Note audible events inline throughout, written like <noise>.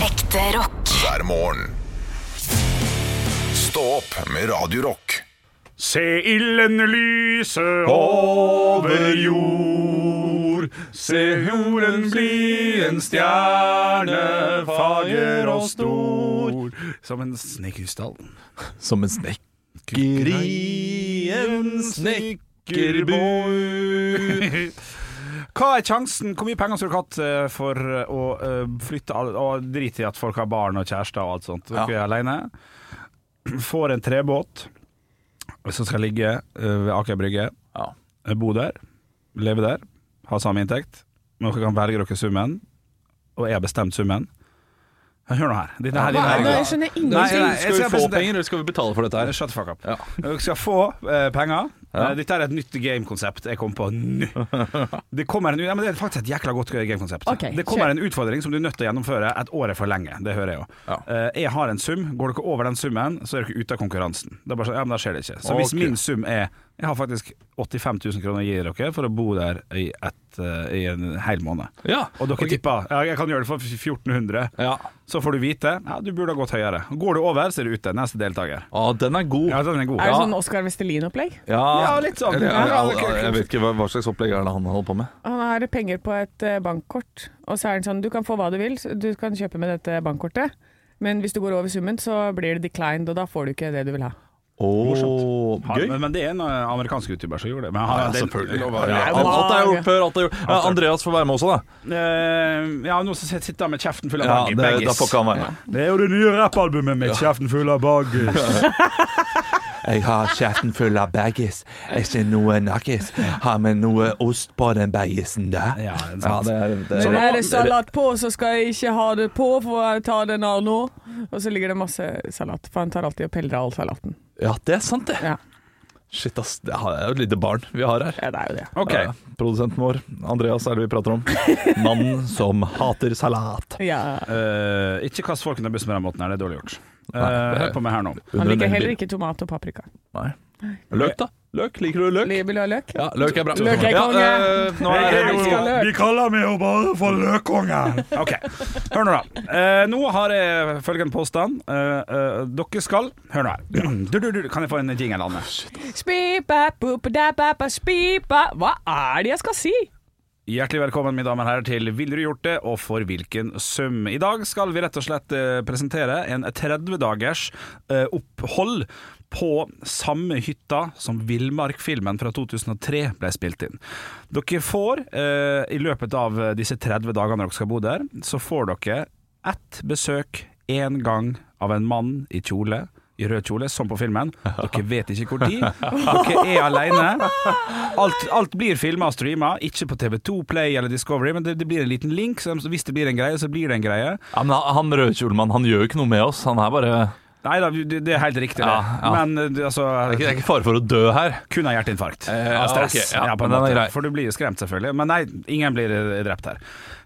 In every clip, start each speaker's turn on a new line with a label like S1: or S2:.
S1: Ekte rock.
S2: hver morgen. Stå opp med Radio Rock.
S3: Se ilden lyse over jord. Se jorden bli en stjerne, fager og stor. Som en snekkerstall.
S4: Som en snekk.
S3: Grien snekkerbu. <laughs> Hva er sjansen? Hvor mye penger skulle du hatt eh, for å eh, flytte alle- Og drit i at folk har barn og kjærester og alt sånt. Dere er alene. Får en trebåt som skal ligge eh, ved Aker Brygge. eh,
S4: Ja.
S3: Bo der. Leve der. Ha samme inntekt. Men dere kan velge dere summen, og jeg har bestemt summen. Hør nå her. Dette her,
S4: Hva
S3: dette
S4: er det?
S3: her
S5: Jeg skjønner
S3: Nei,
S5: ingenting.
S3: nei, jeg
S4: Skal vi
S3: skal
S4: få
S3: presentere-
S4: penger, eller skal vi betale for dette her?
S3: Shut the fuck up.
S4: Ja.
S3: Dere skal få eh, penger. Eh, Dette er et nytt gamekonsept jeg kom på
S4: <laughs>
S3: nå. Det, kommer en, ja, men det er faktisk et jækla godt gamekonsept.
S5: Ok,
S3: det kommer
S5: kjør.
S3: en utfordring som du er nødt til å gjennomføre et år er for lenge. Det hører jeg jo.
S4: Ja.
S3: Eh, jeg har en sum. Går dere over den summen, så er dere ute av konkurransen. Det er bare sånn, ja, men da skjer det ikke. Så hvis
S4: Ok.
S3: min sum er Jeg har faktisk 85 000 kroner å gi dere for å bo der i, et, eh, i en hel måned.
S4: Ja.
S3: Og dere tipper ja, jeg kan gjøre det for 1400.
S4: Ja.
S3: Så får du vite ja, du burde ha gått høyere. Går du over, så er du ute. Neste deltaker.
S4: Å, den er god.
S3: Ja, den er god.
S5: Er det
S3: Ja.
S5: sånn Oscar Vestelin-opplegg?
S3: Ja, litt sånn.
S4: Eller,
S3: Ja,
S4: ja,
S3: ok, ok.
S4: jeg vet ikke hva, hva slags opplegg er det han holder på med.
S5: Han har penger på et eh, bankkort, og så er det sånn du kan få hva du vil, så du kan kjøpe med dette bankkortet, men hvis du går over summen, så blir det declined, og da får du ikke det du vil ha.
S4: Åh,
S3: Han,
S4: gøy.
S3: men, men det er en eh, amerikansk YouTuber som gjorde det. Men han,
S4: Ja,
S3: det-
S4: selvfølgelig.
S3: det var-
S4: Ja,
S3: ja.
S4: alt, alt er gjort før. Alt er gjort. Ja, Andreas får være med også, da.
S3: Eh, ja, nå sitter sitter han med kjeften full av
S4: Ja,
S3: baggy-
S4: det,
S3: baggis.
S4: da får ikke han være med.
S3: Det er jo det nye rappalbumet mitt, 'Kjeften full av
S4: <laughs>
S3: baggis'.
S6: Jeg har kjeften full av baggis. Ikke noe nakkis. Har vi noe ost på den baggisen der?
S3: ja, det er
S4: Ja,
S3: sant.
S4: det er, det
S5: Men
S4: er.
S5: er det salat på, så skal jeg ikke ha det på, for jeg tar den av nå. Og så ligger det masse salat, for han tar alltid og peller av all salaten.
S4: Ja, det er sant, det.
S5: Ja,
S4: Shit, ass. Det er jo et lite barn vi har her.
S5: ja det er jo det.
S3: Ok,
S4: Ja, Eh, Produsenten vår, Andreas, er det vi prater om. Mannen som hater salat.
S5: Ja.
S3: eh, ikke kast folk under bussen på den måten her, det er dårlig gjort. Eh,
S4: Nei, det-
S3: hør på meg her nå.
S5: Han
S4: Under en
S5: liker heller
S4: elbil.
S5: ikke tomat og paprika.
S4: Nei. Løk, da. Løk, Liker du løk?
S5: Vil du ha løk?
S4: Ja, løk er bra.
S5: Løk er konge.
S4: Ja, øh, nå er
S5: Jeg elsker
S4: det
S5: løk.
S3: kaller meg jo bare for løkkongen. Ok, Hør nå, da. Eh, nå har jeg følgende påstand. Eh, eh, dere skal Hør nå her. Du, du, du, kan jeg få en jingle, Anne?
S5: Spipa, pupadapapa, spipa. Hva er det jeg skal si?
S3: Hjertelig velkommen mine damer og herrer til Ville du gjort det, og for hvilken sum? I dag skal vi rett og slett eh, presentere en 30-dagers eh, opphold på samme hytta som Villmark-filmen fra 2003 ble spilt inn. Dere får, eh, i løpet av disse 30 dagene dere skal bo der, så får dere ett besøk én gang av en mann i kjole, i rød kjole, som på
S4: <laughs>
S3: filmen. Dere vet ikke hvor tid. Dere er alene. Alt, alt blir filma og streama, ikke på TV2 Play eller Discovery, men det, det blir en liten link. Så hvis det blir en greie, så blir det en greie.
S4: Ja, men han- han rødkjolemannen, han gjør jo ikke noe med oss. Han er bare Det
S3: Nei da, det det er helt riktig, det.
S4: Ja, ja.
S3: Men eh, altså
S4: er ikke, det er ikke fare for å dø her.
S3: kun av hjerteinfarkt.
S4: ja,
S3: av stress.
S4: ok,
S3: ja,
S4: ja,
S3: på en
S4: men den er
S3: måte.
S4: grei.
S3: For du blir jo skremt, selvfølgelig. Men nei, ingen blir eh, drept her.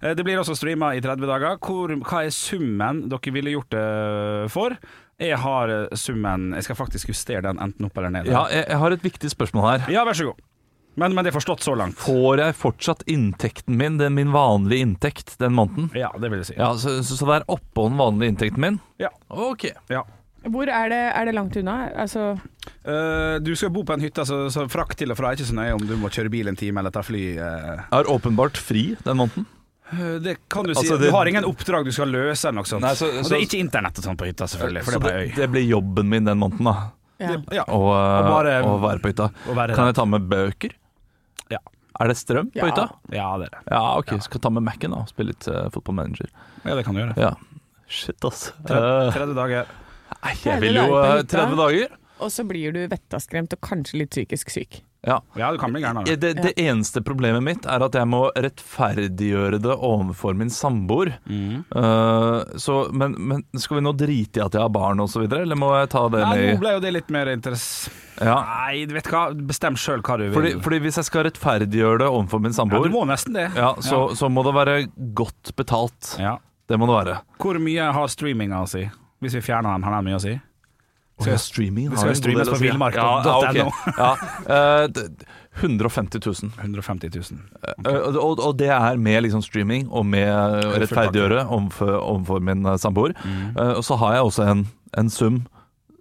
S3: Eh, Det blir også streama i 30 dager. Hvor, hva er summen dere ville gjort det for? Jeg har eh, summen Jeg skal faktisk justere den enten opp eller ned.
S4: Ja, jeg, jeg har et viktig spørsmål her.
S3: Ja, vær så god. Men, men det er forstått så langt.
S4: Får jeg fortsatt inntekten min, den min vanlige inntekt, den måneden?
S3: Ja, det vil jeg si.
S4: Ja, Så, så så det er oppå den vanlige inntekten min?
S3: Ja.
S4: Ok.
S3: ja.
S5: Hvor er det, er det langt unna? Altså
S3: Eh, du skal bo på en hytte, så, så frakt til og fra er ikke så nøye om du må kjøre bil en time eller ta fly. eh.
S4: Jeg har åpenbart fri den måneden.
S3: Eh, det kan du si.
S4: Altså,
S3: du
S4: det-
S3: har ingen oppdrag du skal løse eller noe sånt.
S4: Nei, så-
S3: og det
S4: så-
S3: er ikke internett og sånt på hytta, selvfølgelig, for
S4: Så
S3: det er på
S4: det,
S3: øy.
S4: det blir jobben min den måneden, da.
S5: ja.
S3: Det- Ja,
S4: Å øh,
S3: bare-
S4: å være på hytta.
S3: å være
S4: Kan
S3: der.
S4: jeg ta med bøker?
S3: Ja.
S4: Er det strøm på
S5: Ja.
S4: hytta?
S3: ja, det er det.
S4: Ja, ok, så kan jeg ta med Mac-en da og spille litt uh, Football Manager.
S3: Ja, det kan du gjøre.
S4: Ja. Shit, ass.
S3: Tre-
S4: Eh,
S3: 30 dager.
S4: <laughs> nei,
S5: Tredje
S4: jeg vil jo
S5: dager på
S4: eh,
S5: hytta.
S4: 30 dager.
S5: Og så blir du vettaskremt og kanskje litt psykisk syk.
S4: Ja.
S3: Ja, du kan bli gæren av
S4: Eh,
S3: det.
S4: Det, det eneste problemet mitt er at jeg må rettferdiggjøre det overfor min samboer.
S3: Mm.
S4: Eh, så, men, men skal vi nå drite i at jeg har barn og så videre, eller må jeg ta det
S3: Nei, nå
S4: med
S3: ble jo det litt mer interess...
S4: ja.
S3: Nei, du vet hva, bestem sjøl hva du vil.
S4: fordi, fordi hvis jeg skal rettferdiggjøre det overfor min
S3: ja, du
S4: samboer, ja,
S3: må nesten det.
S4: så, så må det være godt betalt.
S3: Ja.
S4: Det må det være.
S3: Hvor mye har streaminga å si? Hvis vi fjerner den, har den mye å si? Skal-
S4: Åja, streaming
S3: det
S4: har
S3: skal
S4: en god
S3: streames
S4: del å
S3: på
S4: si.
S3: villmarken.no.
S4: Ja, ok. ja, eh, d- 150 000.
S3: 150 000.
S4: Eh, og- og, og det er med liksom streaming og med eh, rettferdiggjøre overfor overfor min eh, samboer. Eh, og så har jeg også en, en sum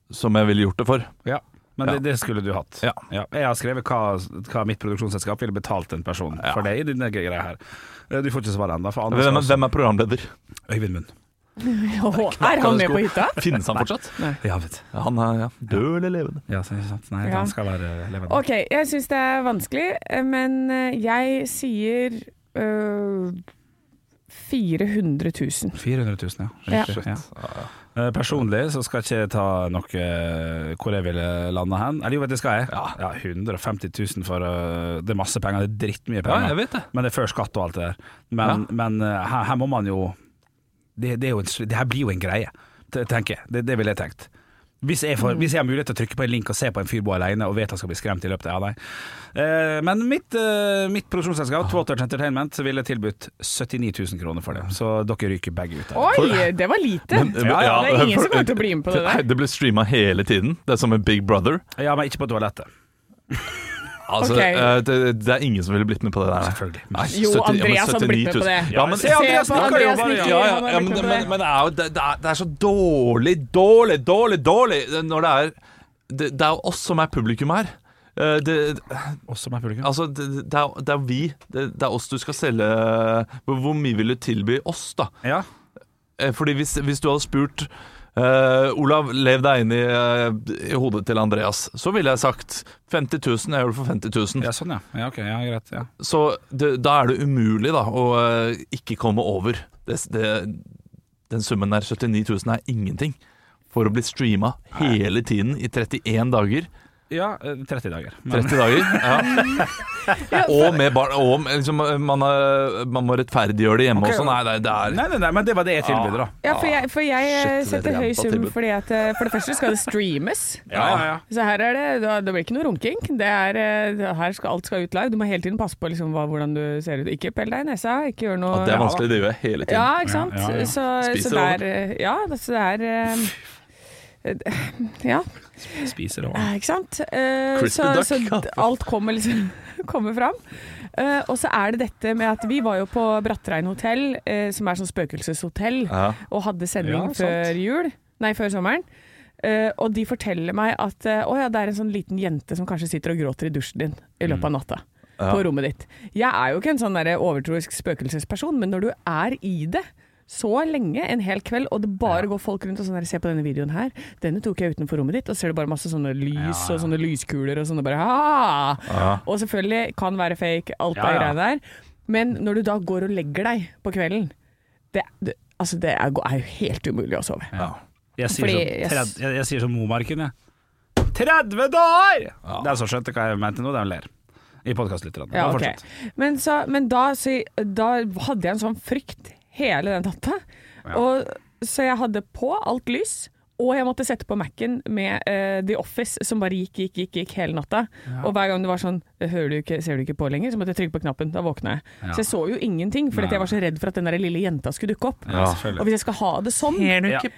S4: som jeg ville gjort det for.
S3: Ja. Men
S4: Ja.
S3: Det, det skulle du hatt.
S4: Ja.
S3: Jeg har skrevet hva, hva mitt produksjonsselskap ville betalt en person for det i denne greia her. Eh, Du får ikke svare ennå, for Anders
S4: Hvem,
S3: skal
S4: hvem er programleder?
S3: også- Øyvind Munn.
S5: er han med på hytta?
S4: Finnes han fortsatt? <laughs>
S3: Ja, vet
S4: Ja, Han er ja, død eller levende.
S3: ja, så- sant. Nei,
S5: Ja.
S3: han skal være eh, levende.
S5: Ok, jeg syns det er vanskelig, men eh, jeg sier øh, 400 000.
S3: 400 000, ja.
S5: Ja.
S3: Riktig, ja.
S4: Ah,
S3: Eh, Personlig så skal ikke jeg ta noe eh, hvor jeg ville landa hen. Eller jo, vet du, det skal jeg.
S4: Ja.
S3: 150 000 for eh, Det er masse penger, det er drittmye
S4: Ja,
S3: penger.
S4: jeg vet det.
S3: men det er før skatt og alt det der. Men, men eh, her, her må man jo det, det, er jo en, s- det her blir jo en greie, te- tenker jeg. Det, det ville jeg tenkt. Hvis jeg, får, hvis jeg har mulighet til å trykke på en link og se på en fyr bo alene og vet han skal bli skremt i løpet av ja, nei. Eh, men mitt, eh, mitt produksjonsselskap, Twatert Entertainment, ville tilbudt 79 000 kroner for det. Så dere ryker begge ut. her.
S5: Oi, det var lite!
S3: Ja, ja,
S5: det er ingen som kommer til å bli med på det
S4: Nei,
S5: der.
S4: Det blir streama hele tiden. Det er som en Big Brother.
S3: Ja, men ikke på toalettet.
S4: Altså,
S5: Ok.
S4: eh, det, det er ingen som ville blitt med på det der. nei.
S3: Selvfølgelig.
S4: Nei,
S5: Jo,
S4: 70 ja, men
S5: Andreas hadde blitt
S4: 79
S5: med
S4: 000.
S5: på det.
S4: Ja, men,
S3: Se, Andreas
S5: på
S3: snakker jo
S5: Andreas
S3: bare
S5: nikker.
S3: ja.
S4: Ja, ja,
S5: Han har
S4: ja
S5: blitt
S4: men,
S5: med
S4: det,
S5: på
S4: men,
S5: det.
S4: men det, er jo, det, det, er, det er så dårlig, dårlig, dårlig, dårlig når det er Det, det er jo oss som er publikum her. Eh, Det,
S3: Også meg, publikum.
S4: altså, det, det, er, det er vi. Det, det er oss du skal selge Hvor hvor mye vil du tilby oss, da?
S3: Ja.
S4: Eh, Fordi hvis, hvis du hadde spurt eh, Olav, lev deg inn i, eh, i hodet til Andreas, så ville jeg sagt 50 000. Jeg gjør det for 50 000.
S3: ja, sånn ja. Ja, ok, ja, greit. Ja.
S4: Så det, da er det umulig da å eh, ikke komme over. Det, det, den summen der, 79 000, er ingenting. For å bli streama hele tiden i 31 dager.
S3: ja eh, 30 dager. Men,
S4: 30 dager. Ja.
S3: <laughs>
S4: Og med barn. Og med, liksom, man, er, man må rettferdiggjøre det hjemme
S3: Ok.
S4: også. Nei, det, det er
S3: nei, nei, nei, men det var det jeg tilbød, da.
S5: Ja, for jeg, for jeg eh,
S4: Shit, det
S5: setter
S4: er
S5: høy
S4: jævla
S5: sum
S4: tilbud.
S5: fordi at eh, for det første skal det streames.
S3: Ja, ja, ja.
S5: Så her er det, da- det blir ikke noe runking. Det er, eh, her skal, alt skal ut live. Du må hele tiden passe på liksom, hva, hvordan du ser ut. Ikke pell deg i nesa. Ikke gjør noe
S4: At det er vanskelig, det gjør jeg hele tiden.
S5: Ja, ikke sant?
S3: Ja, ja, ja.
S5: Så,
S4: Spiser
S5: så der eh, Ja, så det er eh, Ja,
S3: Spiser og
S5: eh, ikke sant? Eh,
S4: Crispy
S5: så,
S4: duck,
S5: så
S4: ja.
S5: d- alt kommer liksom <laughs> kommer fram. Eh, og så er det dette med at vi var jo på Brattrein hotell, eh, som er sånn spøkelseshotell,
S4: Ja.
S5: og hadde
S3: Ja,
S5: sending
S3: sant.
S5: før jul. Nei, før sommeren. Eh, og de forteller meg at eh, å ja, det er en sånn liten jente som kanskje sitter og gråter i dusjen din i løpet
S3: Mm.
S5: av natta. På rommet ditt. Jeg er jo ikke en sånn der overtroisk spøkelsesperson, men når du er i det så lenge, en hel kveld, og det bare går folk rundt og sånn der, se på denne videoen her. Denne tok jeg utenfor rommet ditt, og så ser du bare masse sånne lys og sånne lyskuler og sånne bare «Ah!» Og selvfølgelig kan være fake, alt
S3: Ja,
S5: er
S3: ja.
S5: greia der. Men når du da går og legger deg på kvelden, det, det, altså det er, er jo helt umulig å sove.
S3: Jeg sier,
S5: Fordi
S3: som,
S5: jeg
S3: tred,
S5: s-
S3: jeg, jeg sier som Momarken, jeg. 30 dager! Det er så skjønt hva jeg mente nå, det er hun ler. I podkastlytterne.
S5: Ja, ok. Men, så, men da, så, da hadde jeg en sånn frykt hele den natta. Og, så jeg hadde på alt lys, og jeg måtte sette på Mac-en med eh, The Office, som bare gikk, gikk, gikk, gikk hele natta. Og hver gang det var sånn «Det Hører du ikke, Ser du ikke på lenger? Så måtte jeg trykke på knappen. Da våkna jeg. Så jeg så jo ingenting, for jeg var så redd for at den der lille jenta skulle dukke opp.
S3: Ja,
S5: Og
S3: selvfølgelig.
S5: hvis jeg skal ha det sånn
S3: du ikke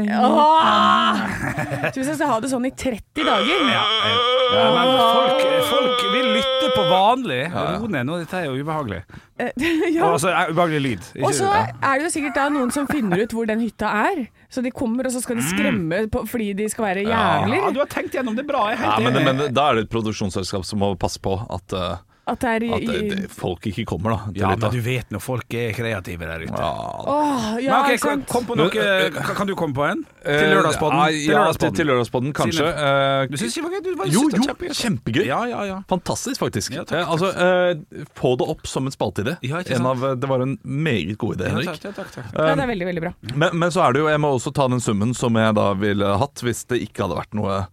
S3: Ah!
S5: Åh! Så hvis jeg skal ha det sånn i 30 dager
S3: Ja, men folk, folk vil lytte på vanlig. Ro ned nå, dette er jo ubehagelig.
S5: eh, <laughs>
S3: Og
S5: ja.
S3: altså, eh, ubehagelig lyd. Ikke-
S5: Og så
S3: ja.
S5: er det jo sikkert da noen som finner ut hvor den hytta er. Så de kommer, og så skal de skremme på, fordi de skal være
S3: ja,
S5: jævler.
S3: du har tenkt gjennom det bra. Jeg er
S4: Ja,
S3: helt
S4: men,
S3: enig.
S4: men da er det et produksjonsselskap som må passe på at, eh,
S5: At det er
S4: at eh, det- folk ikke kommer, da. til
S3: ja,
S4: hytta.
S3: men du vet nå, folk er kreative der ute.
S4: Ja,
S5: Åh, ja,
S3: Men ok,
S5: ikke
S3: kom,
S5: sant?
S3: kom på noe, kan- kan du komme på en? Til
S4: Eh,
S3: Lørdagspodden.
S4: nei,
S3: Til
S4: Ja,
S3: lørdagspodden.
S4: til, til lørdagspodden, kanskje. Eh,
S3: Du syns ikke det var gøy? Du var
S4: jo,
S3: synes det
S4: jo,
S3: var kjempegøy.
S4: kjempegøy.
S3: Ja, ja, ja.
S4: Fantastisk, faktisk.
S3: Ja, takk,
S4: Eh, altså, eh, få det opp som en spalteidé.
S3: Ja, ikke
S4: En
S3: sant?
S4: av- eh, det var en meget god idé,
S3: Ja,
S4: Henrik.
S3: takk, ja, takk, takk.
S5: Ja, det er veldig, veldig bra.
S4: Men, men så er det jo, jeg må også ta den summen som jeg da ville hatt hvis det ikke hadde vært noe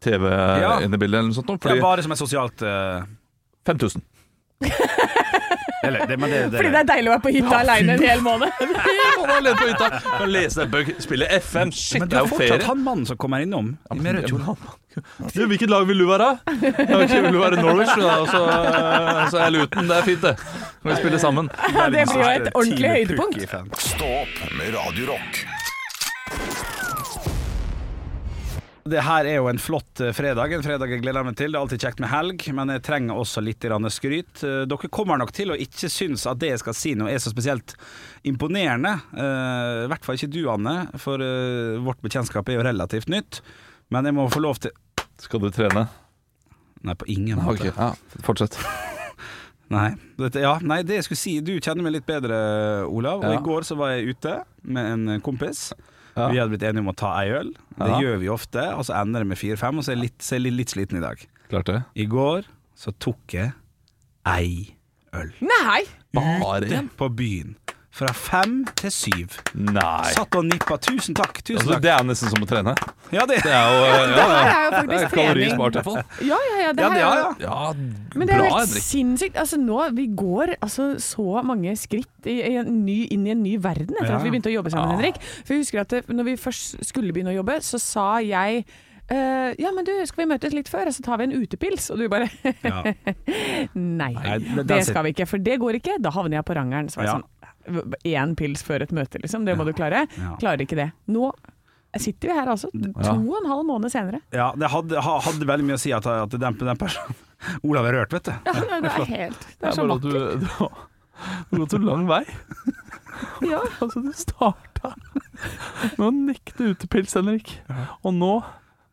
S4: TV
S3: Ja.
S4: inne i bildet. eller noe sånt. nå,
S3: Det
S4: Fordi
S3: er bare som et sosialt eh,
S4: <laughs> 5000.
S3: Eller, det, men det, det,
S5: Fordi det er deilig å være på hytta aleine en hel måned.
S4: Kan lese en bøk, spille FM, shit,
S3: Men du
S4: det er
S3: er
S4: jo
S3: fortsatt
S4: ferie.
S3: han mannen som kommer innom med rød kjole.
S4: Du, hvilket lag vil du være? Ja, ok, vil du være Norwich? Da, og så, eh, så er jeg Luton. Det er fint, det. Kan vi spille sammen.
S5: Det blir jo et ordentlig høydepunkt.
S2: Stå opp med Radio Rock.
S3: Det her er jo en flott eh, fredag. En fredag jeg gleder meg til. Det er alltid kjekt med helg, men jeg trenger også litt grann skryt. Eh, Dere kommer nok til å ikke synes at det jeg skal si nå er så spesielt imponerende. Eh, I hvert fall ikke du, Anne, for eh, vårt bekjentskap er jo relativt nytt. Men jeg må få lov til
S4: Skal du trene?
S3: Nei, på ingen måte.
S4: Ok, ja, fortsett.
S3: Nei. Dette, ja, nei, det jeg skulle si Du kjenner meg litt bedre, Olav. Og
S4: Ja.
S3: I går så var jeg ute med en kompis.
S4: Ja.
S3: Vi hadde blitt enige om å ta ei øl. Det
S4: Ja.
S3: gjør vi ofte. Og så ender det med fire-fem, og så er jeg litt, så er jeg litt, litt sliten i dag.
S4: Klart det.
S3: I går så tok jeg ei øl.
S5: Nei!
S4: Bare en?
S3: På byen. Fra fem til syv.
S4: Nei.
S3: Satt og nippa. Tusen takk. Tusen
S4: Altså,
S3: takk.
S4: det er nesten som å trene.
S3: Ja, det.
S4: Det er jo eh, ja,
S5: Det
S4: ja.
S5: her er jo
S4: Det er
S5: faktisk trening.
S4: kalorispart, i hvert fall.
S5: Ja, ja, ja. Det
S3: Ja,
S5: her
S3: det, ja,
S5: er jo
S3: ja.
S4: Ja,
S5: Men det er jo
S4: bra,
S5: helt
S4: Henrik.
S5: sinnssykt. Altså, nå, vi går altså, så mange skritt i, i en ny, inn i en ny verden etter
S3: Ja. Ah.
S5: at vi begynte å jobbe sammen,
S4: Ja.
S5: Henrik. For jeg husker at det, når vi først skulle begynne å jobbe, så sa jeg eh, ja, men du, skal vi møtes litt før, så tar vi en utepils? Og du bare
S3: Ja.
S5: <laughs> nei,
S3: Nei, det-
S5: det,
S3: den sit-
S5: skal vi ikke, for det går ikke. Da havner jeg på rangeren. Så var jeg
S3: Ja.
S5: sånn Én pils før et møte, liksom. Det må du klare.
S3: Ja.
S5: Klarer ikke det. Nå sitter vi her altså, to og en halv måned senere.
S3: ja det hadde, ha- hadde veldig mye å si at, at den, den personen <laughs> Olav er rørt, vet du.
S5: Ja, det er helt Det
S4: Det
S5: er
S4: er
S5: så
S4: bare at du, <laughs>
S5: vakkert.
S4: du, har- du har gått så lang <laughs> vei.
S5: Ja.
S4: Altså, du starta med å nekte utepils, Henrik. Og nå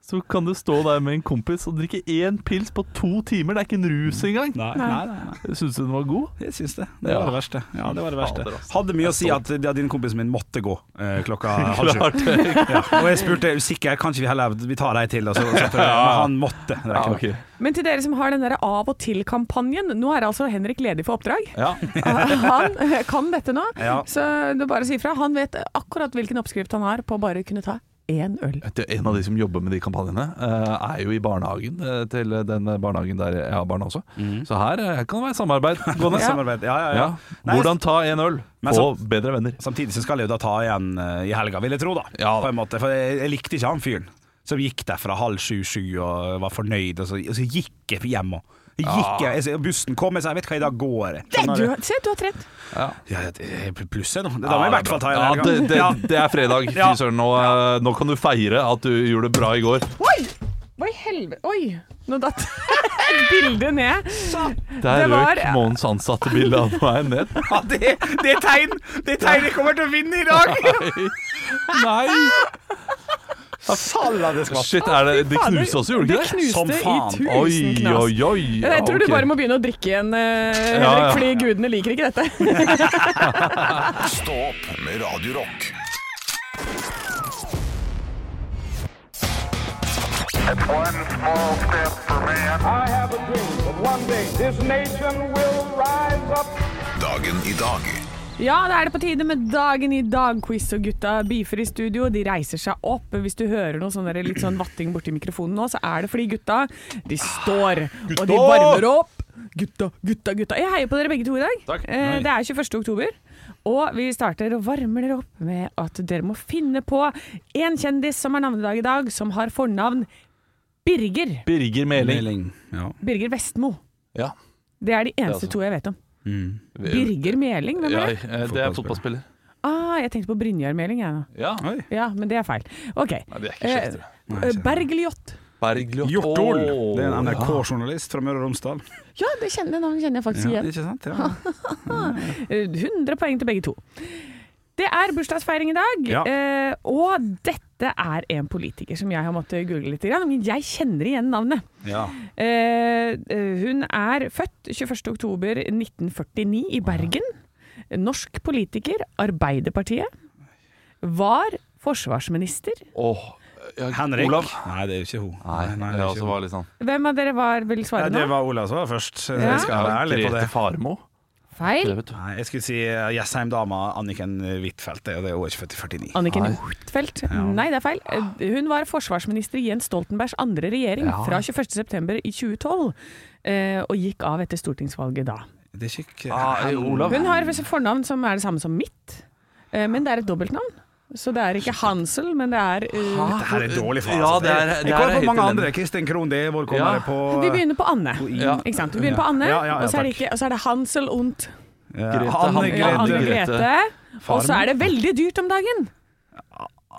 S4: så kan du stå der med en kompis og drikke én pils på to timer. Det er ikke en rus engang.
S3: Nei, nei, nei, nei.
S4: Syns du den var god?
S3: Jeg syns det. Det
S4: Ja.
S3: var det verste. Ja, det var det verste.
S4: Fader, altså. ass.
S3: Hadde mye å si at ja, din kompis min måtte gå eh, klokka
S4: <laughs>
S3: halv sju.
S4: Klart det.
S3: Ja. Og jeg spurte er du sikker, kan ikke vi heller vi tar ei til? Og så, så, men han måtte. Det er
S4: Ja,
S3: ikke noe.
S4: ok.
S5: Men til dere som har den der av og til-kampanjen, nå er altså Henrik ledig for oppdrag.
S3: <laughs>
S4: Ja.
S5: Han eh, kan dette nå,
S3: Ja.
S5: så du bare si ifra. Han vet akkurat hvilken oppskrift han har på å bare kunne ta én øl.
S4: Vet du, En av de som jobber med de kampanjene, eh, er jo i barnehagen eh, til den barnehagen der jeg har barn også. Så her eh, kan det være samarbeid gående.
S3: Mhm. <laughs> Ja. Samarbeid. Ja, ja, ja.
S4: Ja. Hvordan ta en øl?
S3: Men
S4: Få
S3: så-
S4: bedre venner.
S3: Samtidig så skal jeg jo da ta igjen eh, i helga, vil jeg tro, da.
S4: Ja da.
S3: På en måte. For jeg, jeg likte ikke han fyren som gikk derfra halv sju-sju og var fornøyd, og så, og så gikk jeg hjem òg. Gikk jeg, jeg, bussen kom, jeg sa jeg vet hva, i dag går jeg.
S5: Det,
S3: Skjønner
S5: du,
S3: du?
S5: se, du har trent!
S3: Ja, det er pluss jeg nå. Det- Da må jeg i hvert fall ta
S4: ja,
S3: igjen i
S4: det, det,
S3: helga.
S4: det er fredag. Fy
S3: Ja.
S4: søren, nå, eh, nå kan du feire at du gjorde det bra i går.
S5: Oi! Hva i helvete Oi! Nå datt <laughs> et bilde ned.
S4: Der
S5: Det var-
S4: røk Månens ansatte bildet av meg ned.
S3: <laughs> Ja, det, det er tegn! Det er tegn jeg kommer til å vinne i dag!
S4: Nei!
S3: Saladeskatt.
S4: Shit, er det, det knuste oss jo, gjorde
S5: Det
S4: det ikke det?
S3: Som
S5: knuste i
S3: faen.
S5: tusen
S4: Oi,
S5: knas.
S4: oi, oi.
S5: Jeg tror
S4: ok.
S5: du bare må begynne å drikke igjen, eh, Henrik,
S4: Ja, ja.
S5: fordi gudene liker ikke dette.
S2: Stå opp med Radio Rock.
S1: One small step for man. I have a dream that one day this nation will rise up.
S2: Dagen i dag.
S5: Ja, da er det på tide med Dagen i dag-quiz, og gutta beefer i studio. De reiser seg opp. Hvis du hører noe sånn der, litt sånn vatting borti mikrofonen nå, så er det fordi gutta de står, og de varmer opp. Gutta, gutta, gutta. Jeg heier på dere begge to i dag. Eh, Det er 21. oktober. Og vi starter og varmer dere opp med at dere må finne på en kjendis som har navnedag i dag, som har fornavn Birger.
S4: Birger Meling.
S3: Meling. Ja.
S5: Birger Vestmo.
S4: Ja.
S5: Det er de
S4: altså-
S5: eneste to jeg vet om.
S3: Mm.
S5: Birger Meling, hvem
S4: Ja,
S5: er det?
S4: eh, det er fotballspiller.
S5: Ah, jeg tenkte på Brynjar Meling, jeg nå.
S4: Ja.
S3: Oi.
S5: Ja, men det er feil. OK.
S4: Nei, det er ikke
S5: Eh,
S4: kjeft.
S5: eh, Bergljot.
S4: Bergljot.
S3: Hjortol.
S4: Åh.
S3: Det er en NRK-journalist fra Møre og Romsdal.
S5: Ja, det kjenner, navnet kjenner jeg faktisk
S3: Ja,
S5: igjen.
S3: ikke sant? Ja.
S5: Eh, 100 poeng til begge to. Det er bursdagsfeiring i dag,
S3: Ja.
S5: eh, og dette er en politiker som jeg har måttet google litt, grann, men jeg kjenner igjen navnet.
S3: <laughs> Ja.
S5: Eh, eh, hun er født 21.10.1949 i Bergen. Norsk politiker, Arbeiderpartiet. Var forsvarsminister.
S4: Åh, ja,
S3: Henrik.
S4: Olav.
S3: Nei, det er jo ikke hun.
S4: Nei,
S3: det,
S4: jeg
S3: er
S4: også
S3: ikke hun.
S4: var litt sånn
S5: Hvem av dere var, vil svare
S3: Nei, det
S5: nå?
S3: var Olav som var først.
S5: Ja.
S3: Jeg skal være ærlig på det.
S4: Grete Faremo.
S5: Feil.
S4: Det vet du.
S3: Nei, jeg skulle si eh, Jessheim-dama Anniken Huitfeldt. Det er jo- det er jo ikke født i 49.
S5: Anniken
S4: Nei.
S5: Huitfeldt. Nei, det er feil. Hun var forsvarsminister i Jens Stoltenbergs andre regjering
S4: Ja.
S5: fra 21.9. i 2012, eh, og gikk av etter stortingsvalget da.
S3: Det er ikke
S4: Ah, eh, Olav.
S5: Hun har et fornavn som er det samme som mitt, eh, men det er et dobbeltnavn. Så det er ikke Hansel, men det er eh,
S3: Det her er dårlig for
S4: Ja,
S3: altså.
S4: det er- det
S3: Jeg
S4: er
S3: kommer på
S4: helt
S3: mange
S4: elendig.
S3: andre. Kristin Krohn, det er vår kommer
S4: Ja.
S3: på
S5: Vi begynner på Anne.
S4: Ja.
S5: Ikke sant? Vi begynner på Anne,
S3: Ja, ja, ja,
S5: og, så er det
S3: takk.
S5: ikke, og så er det Hansel und
S3: eh,
S4: Grete,
S3: Anne
S4: han-
S5: ja,
S3: Grete.
S5: Anne Grete. Og så
S3: Farmen.
S5: er det veldig dyrt om dagen.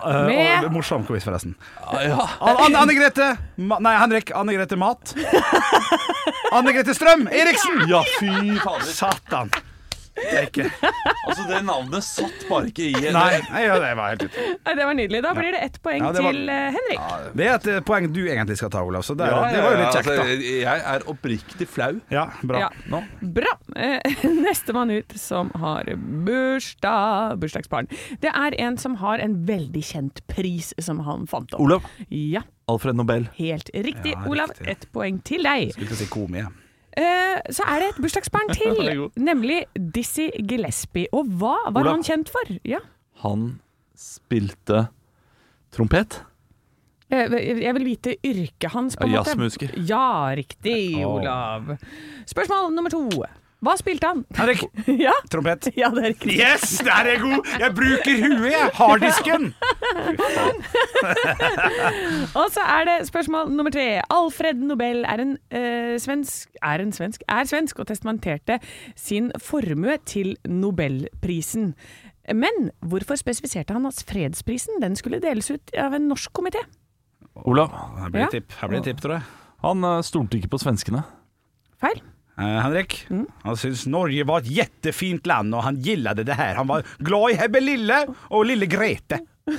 S3: Eh,
S5: Med-
S3: og, morsom quiz, forresten.
S4: Ja.
S3: Anne, Anne, Anne Grete Ma, Nei, Henrik. Anne Grete Mat. <laughs> Anne Grete Strøm Eriksen!
S4: ja, fy fader.
S3: Satan. Det er ikke
S4: Altså, det navnet satt bare ikke i
S3: <laughs>
S4: en-
S3: Nei, nei, ja, det var helt ute.
S5: Nei, det var nydelig. Da blir det ett poeng
S3: Ja, det var-
S5: til eh, Henrik.
S3: Det er et eh, poeng du egentlig skal ta, Olav, så det, er-
S4: Ja,
S3: det var jo
S4: ja,
S3: litt kjekt,
S4: altså,
S3: da.
S4: Jeg er oppriktig flau.
S3: Ja, bra.
S5: Ja.
S4: Nå.
S5: Bra. Eh, <laughs> Nestemann ut som har bursdag, bursdagsbarn. Det er en som har en veldig kjent pris som han fant opp.
S4: Olav.
S5: Ja,
S4: Alfred Nobel.
S5: helt riktig.
S3: Ja,
S5: Olav,
S3: riktig.
S5: ett poeng til deg.
S3: Skulle til å si komie.
S5: Eh, så er det et
S4: <laughs>
S5: bursdagsbarn
S4: Den er
S5: til,
S4: god.
S5: nemlig Dizzie Gillespie. Og hva var
S4: Olav.
S5: han kjent for? Ja.
S4: Han spilte trompet.
S5: Eh, Jeg vil vite yrket hans, på en
S4: Ja,
S5: måte.
S4: jazzmusiker.
S5: Ja, riktig, Olav. Spørsmål nummer to. Hva spilte han? <laughs>
S3: Henrik.
S5: ja,
S3: Trompet.
S5: ja, det er riktig.
S3: Yes, der er jeg god! Jeg bruker huet, jeg! Harddisken!
S5: Og så er det spørsmål nummer tre. Alfred Nobel er en eh, svensk Er en svensk? Er svensk og testamenterte sin formue til Nobelprisen. Men hvorfor spesifiserte han at fredsprisen den skulle deles ut av en norsk komité?
S4: Olav.
S3: Her blir
S5: Ja.
S3: det tipp, Her blir det tipp, tror jeg.
S4: Han eh, stolte ikke på svenskene.
S5: Feil?
S3: Eh, Henrik,
S5: Mm.
S3: han syntes Norge var et jettefint land, og han gillade det her. Han var glad i Hebbe Lille og lille Grete. Jeg,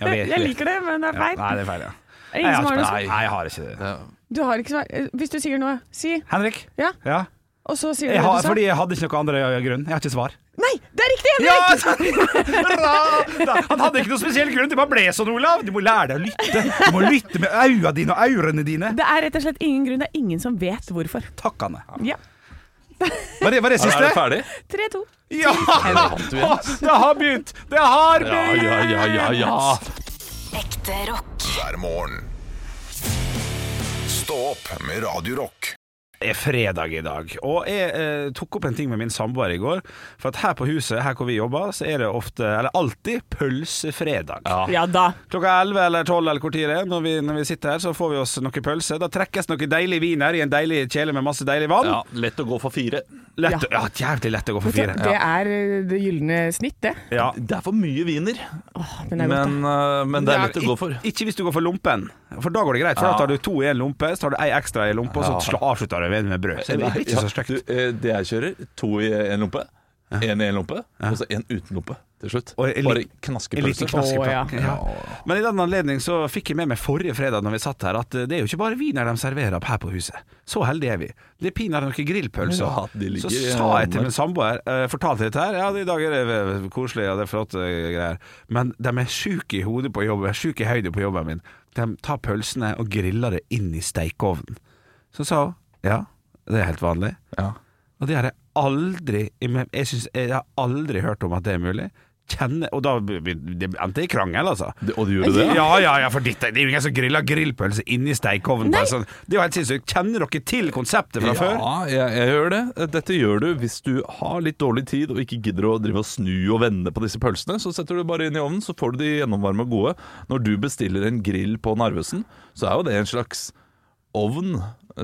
S3: vet, <laughs>
S5: <laughs> Jeg liker det, men det er
S3: Ja,
S5: feil.
S3: nei, det er feil, ja.
S5: Ingen
S3: Jeg
S5: som har noe
S3: sp-
S4: svar?
S3: Nei, jeg har ikke det.
S5: Du har ikke svar. Eh, Hvis du sier noe, si.
S3: Henrik?
S5: Ja.
S3: Ja.
S5: Og så sier du
S3: Jeg
S5: det
S3: har,
S5: du sa.
S3: fordi jeg hadde ikke noe andre grunn. Jeg eh, har ikke svar.
S5: Nei, det er riktig,
S3: Ja! <laughs>
S5: Henrik!
S3: Bra! Han hadde ikke noen spesiell grunn. Det bare ble sånn, Olav. Du må lære deg å lytte. Du må lytte med øynene dine og ørene dine.
S5: Det er rett og slett ingen grunn. Det er ingen som vet hvorfor.
S3: Takk, Anne.
S5: Ja.
S3: Var det, var det
S4: Er det
S3: siste?
S4: ferdig?
S5: 3-2.
S3: Ja! <laughs> Det har begynt! Det har
S4: Ja,
S3: begynt!
S4: ja, ja, ja, ja.
S7: Ekte rock.
S2: hver morgen. Stå opp med Radio Rock.
S3: er fredag i dag, og jeg eh, tok opp en ting med min samboer i går. For at her på huset, her hvor vi jobber, så er det ofte, eller alltid, pølsefredag.
S5: Ja da.
S3: Klokka 11 eller 12 eller hvor tid det er, når vi, når vi sitter her, så får vi oss noen pølse. Da trekkes noen deilige viner i en deilig kjele med masse deilig vann.
S4: Ja, lett å gå for fire.
S3: Lett, ja. jævlig lett å gå for fire.
S5: Det er eh, det gylne snitt, det.
S3: Ja.
S4: Det er for mye wiener,
S5: Åh, men det er godt,
S4: men, eh, men det er lett å gå
S3: Ik-
S4: for.
S3: Ikke hvis du går for lompen, for da går det greit. For
S4: Ja.
S3: da tar du to i en lompe, så tar du ei ekstra i lompa, og så sl- avslutter du med brød. Så det blir ikke
S4: Ja,
S3: så stygt.
S4: du, eh, Det jeg kjører, to i en lompe, én i en lompe, og så én uten lompe til slutt.
S3: Og en
S4: Bare sånn.
S3: liten- En liten
S4: knaskepølse.
S3: knask i
S5: Å, ja.
S3: plakken, ja. Men i den anledning så fikk jeg med meg forrige fredag når vi satt her, at eh, det er jo ikke bare viner de serverer opp her på huset. Så heldige er vi. Det er pinadø noen grillpølser.
S4: Ja, de
S3: så
S4: ligger i
S3: sa jeg til
S4: hånden.
S3: min samboer, eh, fortalte dette her, ja i dag er det eh, koselig og det er flotte greier, men de er sjuke i hodet på jobben, sjuke i høyde på jobben min. De tar pølsene og griller det inn i steikeovnen. Så sa hun, ja, det er helt vanlig.
S4: Ja.
S3: Og det har jeg aldri Jeg, synes, jeg har aldri hørt om at det er mulig. Kjenne, og da be- be- det endte i krangel, altså.
S4: Det- Og du gjorde det?
S3: Ja, ja, ja, for dette, det er jo ingen som griller grillpølse inni steikeovnen. bare sånn. Det er jo helt sinnssykt. Kjenner dere til konseptet fra før?
S4: Ja, altså, jeg, jeg gjør det. Dette gjør du hvis du har litt dårlig tid og ikke gidder å drive og snu og vende på disse pølsene. Så setter du det bare inn i ovnen, så får du de gjennomvarme og gode. Når du bestiller en grill på Narvesen, så er jo det en slags ovn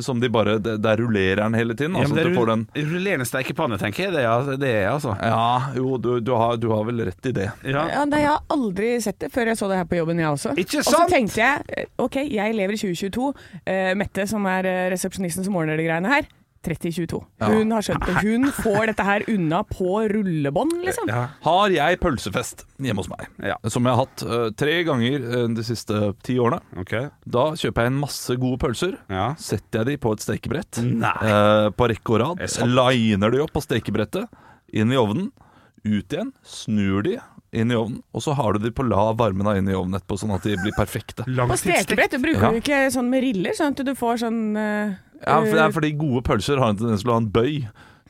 S4: som de bare Der der rullerer den hele tiden.
S3: Ja, men
S4: Altså,
S3: det
S4: du får den
S3: er rull- rullerende steikepanne, tenker jeg. Det er det, er, altså.
S4: Ja, jo, du, du, har, du har vel rett i det.
S3: Ja.
S5: Ja, nei, Jeg har aldri sett det før jeg så det her på jobben, jeg også.
S3: Ikke
S5: Og
S3: sant?
S5: så tenkte jeg eh, OK, jeg lever i 2022. Eh, Mette, som er eh, resepsjonisten som ordner de greiene her, 3022. Hun har skjønt det. Hun får dette her unna på rullebånd, liksom.
S3: Ja.
S4: Har jeg pølsefest hjemme hos meg,
S3: Ja.
S4: som jeg har hatt eh, tre ganger eh, de siste ti årene,
S3: Ok.
S4: da kjøper jeg en masse gode pølser.
S3: Ja.
S4: setter jeg de på et stekebrett
S3: Nei.
S4: eh, på rekke og
S3: Er det
S4: rad.
S3: sant?
S4: Liner de opp på stekebrettet, inn i ovnen, ut igjen, snur de inn i ovnen, og så har du de på lav varme da inn i ovnen etterpå, sånn at de blir perfekte.
S5: På stekebrett du bruker
S4: Ja.
S5: du ikke sånn med riller, sånn at du får sånn eh,
S4: Ja, for det er fordi gode pølser har en tendens til å ha en bøy,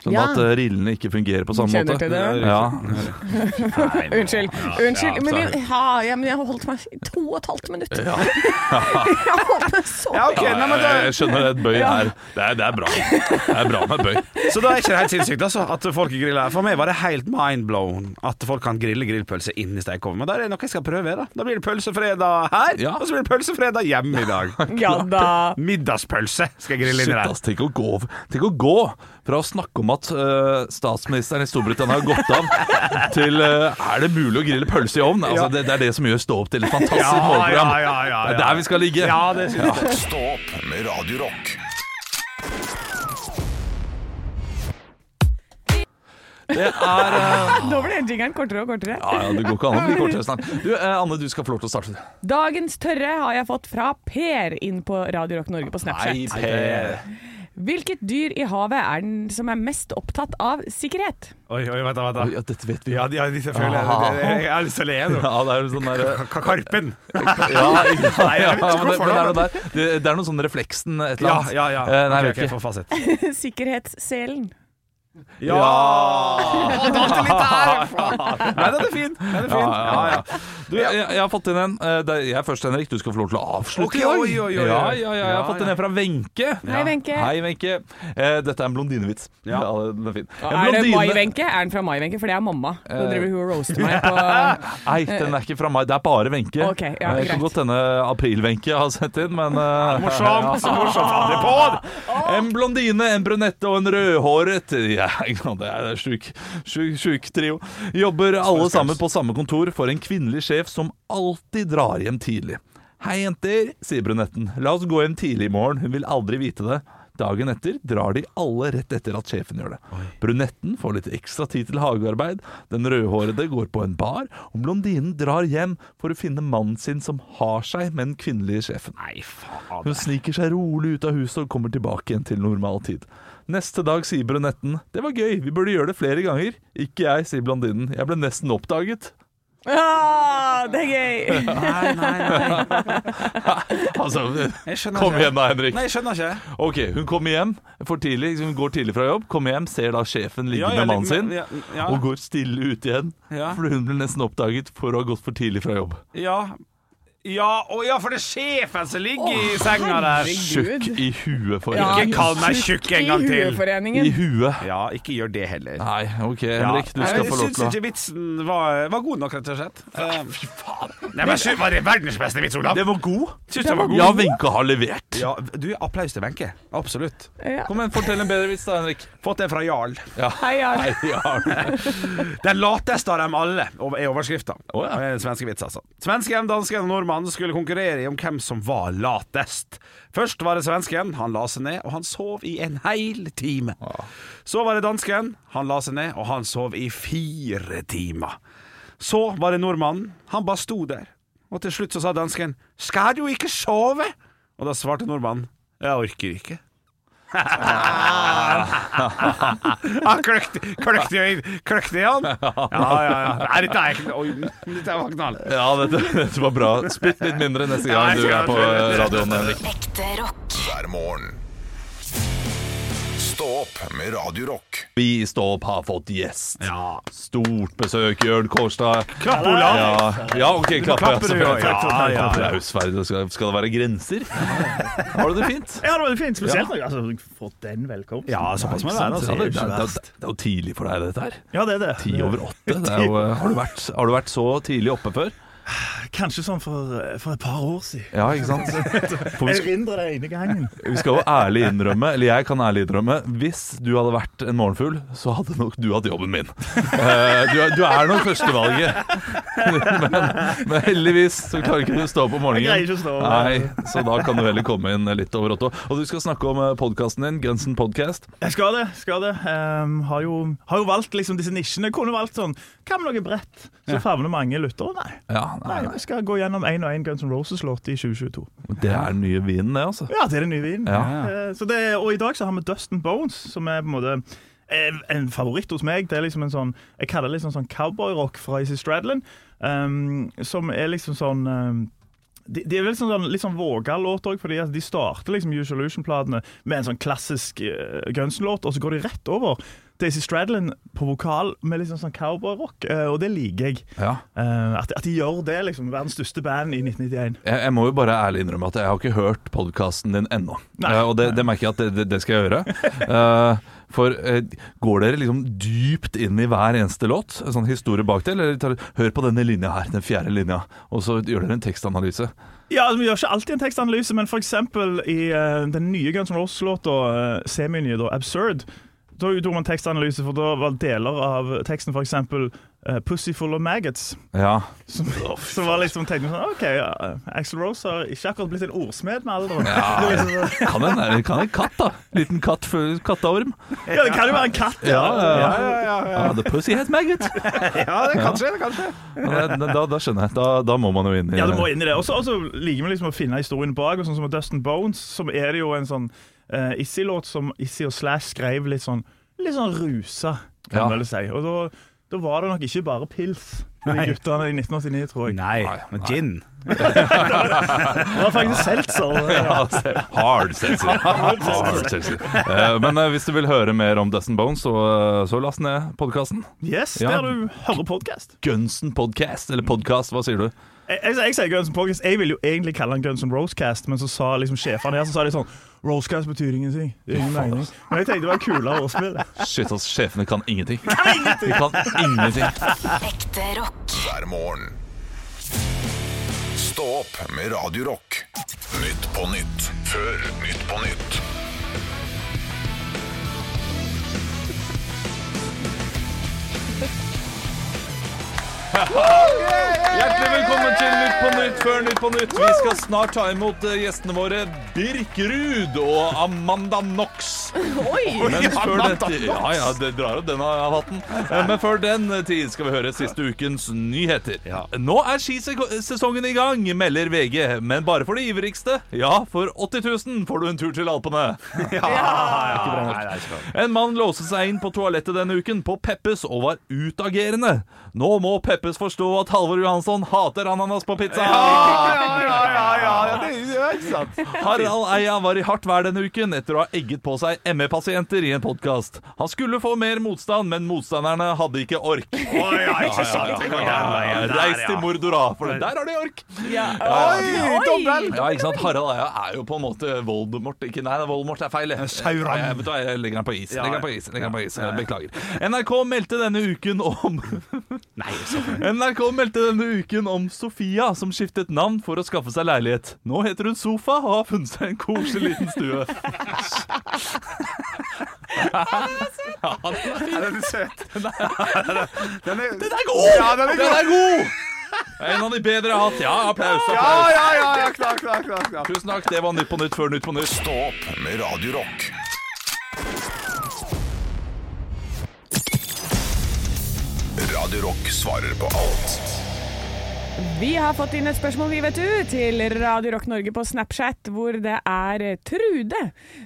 S4: sånn
S5: Ja.
S4: at eh, rillene ikke fungerer på samme
S5: Kjenner
S4: måte.
S5: til det.
S4: Ja.
S5: eh, Unnskyld. unnskyld. men, jeg, ja, ja, men jeg har holdt meg i to og et halvt minutt. <laughs> jeg har holdt meg så
S3: Ja, ok, nei, men da,
S4: Jeg skjønner at bøy er det, er det er bra. Det er bra med bøy. <laughs>
S3: Så da er ikke det helt sinnssykt altså, at folk griller. For meg var det helt mindblown at folk kan grille grillpølse inni stekeovnen. Men da er det noe jeg skal prøve. Da Da blir det pølsefredag her,
S4: Ja.
S3: og så blir det pølsefredag hjemme i dag.
S5: Ja da.
S3: Middagspølse skal jeg grille
S4: Shit,
S3: inni der.
S4: ass, tenk å gå, tenk å gå fra å snakke om om at eh, statsministeren i Storbritannia har gått <laughs> av til eh, Er det mulig å grille pølse i ovn? Altså, det, det er det som gjør Stå opp til et fantastisk morgenprogram. Det er der vi skal ligge.
S3: Ja, det synes jeg.
S2: Stå opp med Radio Rock.
S4: Det er eh,
S5: Nå ble den jingeren kortere og kortere.
S4: Ja, ja, det går ikke an å bli kortere snart. Du, eh, Anne, du skal få lov til å starte.
S5: Dagens tørre har jeg fått fra Per inn på Radio Rock Norge på Snapchat.
S4: Per.
S5: Hvilket dyr i havet er den som er mest opptatt av sikkerhet? <laughs>
S3: Oi, oi, vent da, vent da.
S4: Ja, dette vet vi.
S3: Ja, de, ja, de selvfølgelig. Det- det- Jeg har lyst til å le nå.
S4: Ja, det er jo
S3: <laughs>
S4: sånn der, eh,
S3: Ka- Karpen.
S4: <laughs> ja, ja, ja,
S3: jeg vet ikke
S4: men det,
S3: hvorfor
S4: men det, er
S3: det,
S4: noe der. Det, det er noe sånn refleksen et eller
S3: Ja,
S4: annet.
S3: ja, ja.
S4: Eh, Nei, jeg
S3: Ok, ok,
S4: vet
S3: få
S4: ikke.
S3: fasit.
S5: Sikkerhetsselen.
S3: Ja! Nei, den er fin. Den er fin.
S4: Ja, ja, ja. Du, jeg, jeg har fått inn en. Eh, det er- Jeg er først, Henrik. Du skal få lov til å avslutte
S3: Ok,
S4: i dag.
S3: oi, oi, oi, oi.
S4: Ja, ja, ja, jeg har
S3: Ja,
S4: fått inn
S3: ja.
S4: en fra Wenche.
S5: Hei, Wenche.
S4: Hei, Wenche. Eh, Dette er en blondinevits. Ja.
S3: Ja.
S4: den er fin. En
S5: Er det
S4: blondine-
S5: Mai-Wenche? Er den fra Mai-Wenche? For det er mamma. Nå
S4: Eh.
S5: driver hun og roaster meg på
S4: Ah, <laughs> Nei, den er ikke fra meg. Det er bare Wenche.
S5: Ok, ja,
S4: Eh, det kan
S5: greit.
S4: godt hende April-Wenche har sendt inn, men eh,
S3: Morsomt. så morsomt. Ha det på.
S4: En blondine, en brunette og en rødhåret ja, ikke sant, Det er en sjuk, sjuk, sjuk trio. Jobber alle sammen på samme kontor for en kvinnelig sjef som alltid drar hjem tidlig. Hei, jenter, sier brunetten. La oss gå hjem tidlig i morgen. Hun vil aldri vite det. Dagen etter drar de alle rett etter at sjefen gjør det. Brunetten får litt ekstra tid til hagearbeid, den rødhårede går på en bar, og blondinen drar hjem for å finne mannen sin som har seg med den kvinnelige sjefen.
S3: Nei, faen.
S4: Hun sniker seg rolig ut av huset og kommer tilbake igjen til normal tid. Neste dag sier brunetten 'Det var gøy, vi burde gjøre det flere ganger'. 'Ikke jeg', sier blondinen. 'Jeg ble nesten oppdaget'. <laughs>
S5: ah, Det er gøy!
S3: Nei, nei, nei.
S4: Altså,
S3: Jeg skjønner
S4: kom
S3: ikke.
S4: igjen da, Henrik.
S3: Nei, jeg skjønner ikke.
S4: Ok, Hun kommer hjem for tidlig, hun går tidlig fra jobb, kommer hjem, ser da sjefen ligge
S3: Ja, ja,
S4: med mannen
S3: litt-
S4: sin,
S3: ja, ja.
S4: og går stille ut igjen.
S3: Ja.
S4: Fordi hun ble nesten oppdaget for å ha gått for tidlig fra jobb.
S3: Ja. Ja, å ja, for det er sjefen som ligger i senga der.
S4: Tjukk i huet for
S5: Ja,
S4: Henrik.
S3: Ikke kall meg tjukk en gang
S5: I
S3: til.
S4: I
S5: Hueforeningen.
S4: huet.
S3: Ja, ikke gjør det heller.
S4: Nei, OK,
S3: Ja.
S4: Henrik. Du
S3: Nei,
S4: skal
S3: men
S4: få lov til å
S3: Jeg syns ikke vitsen var, var god nok, rett og slett. Fy faen. Nei, men sy- Var det verdens beste vits, Olav?
S4: var god.
S3: Syns den var god.
S4: Ja, Wenche har levert.
S3: Ja, du, applaus til Wenche. Absolutt.
S5: Ja.
S4: Kom igjen, fortell en bedre vits da, Henrik.
S3: Fått det fra Jarl.
S5: Hei, Jarl.
S3: Den lateste av dem alle, over- er overskrifta.
S4: Å, ja.
S3: Eh, Svenske vits, altså. Svensken, dansken og nordmannen skulle konkurrere i om hvem som var latest. Først var det svensken. Han la seg ned, og han sov i en hel time. Så var det dansken. Han la seg ned, og han sov i fire timer. Så var det nordmannen. Han bare sto der. Og til slutt så sa dansken 'Skal du ikke sove?' Og da svarte nordmannen 'Jeg orker ikke'. Han kløkte, kløkte, i øyn- kløkte i
S4: <laughs>
S3: han. Ja, ja, ja. Nei, dette er ikke Oi, dette var knall.
S4: Ja, dette, dette var bra. Spytt litt mindre neste
S3: Ja,
S4: gang
S3: jeg
S4: du
S3: skal
S4: er på
S3: gjøre
S4: radioen, Henrik.
S7: Ekte rock.
S2: hver morgen. Stå opp med Radio Rock.
S4: Vi i Stå opp har fått gjest.
S3: Ja.
S4: Stort besøk, Jørn Kårstad.
S3: Klapp, Olav.
S4: Ja, ja OK, klapp. Ja,
S3: klapper du, ja.
S4: selvfølgelig.
S3: Ja, ja, ja.
S4: Applaus, Ferdi. Skal, skal det være grenser? Har du det fint?
S8: Ja, det var fint. Spesielt når jeg altså, fått den velkomsten.
S3: Ja, såpass må det
S4: Sånn, Ja,
S3: være.
S4: det, det,
S3: Altså.
S4: det, det er jo tidlig for deg, dette her.
S8: Ja, det er det.
S4: Ti over åtte. Det er jo, eh, har, du vært, har du vært så tidlig oppe før?
S8: Kanskje sånn for, for et par år
S4: <laughs>
S8: siden.
S4: Ja, ikke sant? For vi,
S8: Jeg erindrer det ene gangen.
S4: Vi skal jo ærlig innrømme, eller jeg kan ærlig innrømme Hvis du hadde vært en morgenfugl, så hadde nok du hatt jobben min. Eh, du, er- du er nok førstevalget. Men, men heldigvis så klarer ikke du å stå opp om morgenen.
S8: Jeg greier ikke å stå opp.
S4: Nei, Så da kan du heller komme inn litt over åtte. Og du skal snakke om podkasten din, Grensen podcast.
S8: Jeg skal det. skal det. Ehm, har, jo, har jo valgt liksom disse nisjene. Kunne valgt sånn Hva med noe bredt? Så favner mange lyttere. Nei.
S4: Ja,
S8: Nei,
S4: nei, nei.
S8: vi skal gå gjennom én og én Guns N' Roses-låt i 2022.
S4: Det er den nye vinen, det, altså.
S8: Ja, det er den nye vinen.
S4: Ja.
S8: Eh, Så det, og i dag så har vi Dustin Bones, som er på en måte eh, en favoritt hos meg. Det er liksom en sånn, Jeg kaller det liksom sånn cowboyrock fra Izzy Stradlin, ehm, som er liksom sånn ehm, de, de er vel sånn, litt sånn våga låter òg, fordi at de starter liksom Use Illusion-platene med en sånn klassisk uh, Guns-låt, og så går de rett over til Izzy Stradlin på vokal med liksom sånn cowboyrock, eh, og det liker jeg.
S4: Ja.
S8: Eh, at, at de gjør det, liksom. Verdens største band i 1991.
S4: Jeg, jeg må jo bare ærlig innrømme at jeg har ikke hørt podkasten din ennå.
S8: Nei.
S4: Eh, og det, det merker jeg at det, det, det skal jeg
S8: <laughs>
S4: gjøre. Eh, for eh, går dere liksom dypt inn i hver eneste låt? En sånn historie bak det? Eller tar, hør på denne linja her, den fjerde linja, og så gjør dere en tekstanalyse?
S8: Ja, altså, Vi gjør ikke alltid en tekstanalyse, men f.eks. i eh, den nye Guns N' Roses-låta, uh, seminye da, eh, 'Absurd', Da gjorde man tekstanalyse, for da var deler av teksten f.eks. Uh, 'Pussy full of maggots'.
S4: Ja.
S8: Som, som var liksom tenkte sånn OK, ja, Axel Rose har ikke akkurat blitt en ordsmed med alderen.
S4: Ja, kan en, eh, kan en katt, da. Liten katt før katteorm.
S8: <laughs> Ja, det kan jo være en katt!
S4: Ja, ja, ja. ja the pussy has
S8: <laughs>
S4: maggot.
S3: Ja, det kanskje, det kanskje.
S4: Ja, det- Da, da skjønner jeg. Da, da må man jo inn i
S8: Ja, du må inn i det. Og så og så liker vi liksom å finne historien bak. Og sånn som med Dustin Bones, som er det jo en sånn uh, Issi-låt som Issi og Slash skrev litt sånn Litt sånn rusa, kan
S4: Ja.
S8: man vel si. Og da, da var det nok ikke bare pils. De guttene i 1989, tror jeg.
S3: Nei, men gin.
S8: Det var faktisk seltzer.
S4: <laughs> <laughs> Ja, se- Hard seltzer.
S8: <laughs>
S4: Hard seltzer. Eh, Men eh, hvis du vil høre mer om Dustin Bones, så, eh, så last ned podkasten.
S8: Yes,
S4: Ja.
S8: der du hører podkast.
S4: Gunsen podcast, eller podcast, hva sier du?
S8: Jeg, jeg, jeg sier Guns N' Podcast. Jeg ville jo egentlig kalle den Guns N' Rosecast, men så sa liksom sjefene her så sa de sånn Rosecast betyr ingenting. Det er ingen mening. Men jeg tenkte det var kulere å spille.
S4: Shit, ass, sjefene kan ingenting. De kan ingenting.
S7: Ekte rock.
S2: hver morgen. Stå opp med Radio Rock. Nytt på nytt før Nytt på nytt.
S4: Hjertelig velkommen til Nytt på Nytt før Nytt på Nytt. Vi skal snart ta imot eh, gjestene våre Birk Ruud og Amanda Knox.
S5: Oi!
S4: Men før dette, ja, ja, det drar opp den av hatten. Eh, Men før den tid skal vi høre siste ukens nyheter. Nå er skisesongen i gang, melder VG. Men bare for de ivrigste. Ja, for 80 000 får du en tur til Alpene. Ah, En mann låste seg inn på toalettet denne uken på Peppes og var utagerende. Nå må Peppes forstå at Halvor Johansson hater ananas på pizza. Harald Eia var i hardt vær denne uken etter å ha egget på seg ME-pasienter i en podkast. Han skulle få mer motstand, men motstanderne hadde ikke ork. Reis til Mordora, for der har de ork!
S5: Oi!
S4: Ja, ikke sant? Harald Eia er jo på en måte Voldemort. Ikke, nei, Voldemort er feil. jeg.
S3: Sauron.
S4: Jeg, vet du hva, jeg legger den på is. Legger den på is. Legger den på is. Beklager. NRK meldte denne uken om <laughs> NRK meldte denne uken om Sofia, som skiftet navn for å skaffe seg leilighet. Nå heter hun Sofa og har funnet seg en koselig liten stue.
S3: <laughs> Er den søt? Den er,
S4: Den er god!
S3: Ja, den er god!
S4: god! Det er En av de bedre jeg har hatt. Ja, applaus.
S3: Ja,
S4: applaus.
S3: ja, ja, ja, klar, klar, klar, klar.
S4: Tusen takk. Det var Nytt på Nytt før Nytt på Nytt.
S2: Stå opp med Radio Rock. Radio Rock svarer på alt.
S5: Vi har fått inn et spørsmål vi vet du, til Radio Rock Norge på Snapchat, hvor det er eh, Trude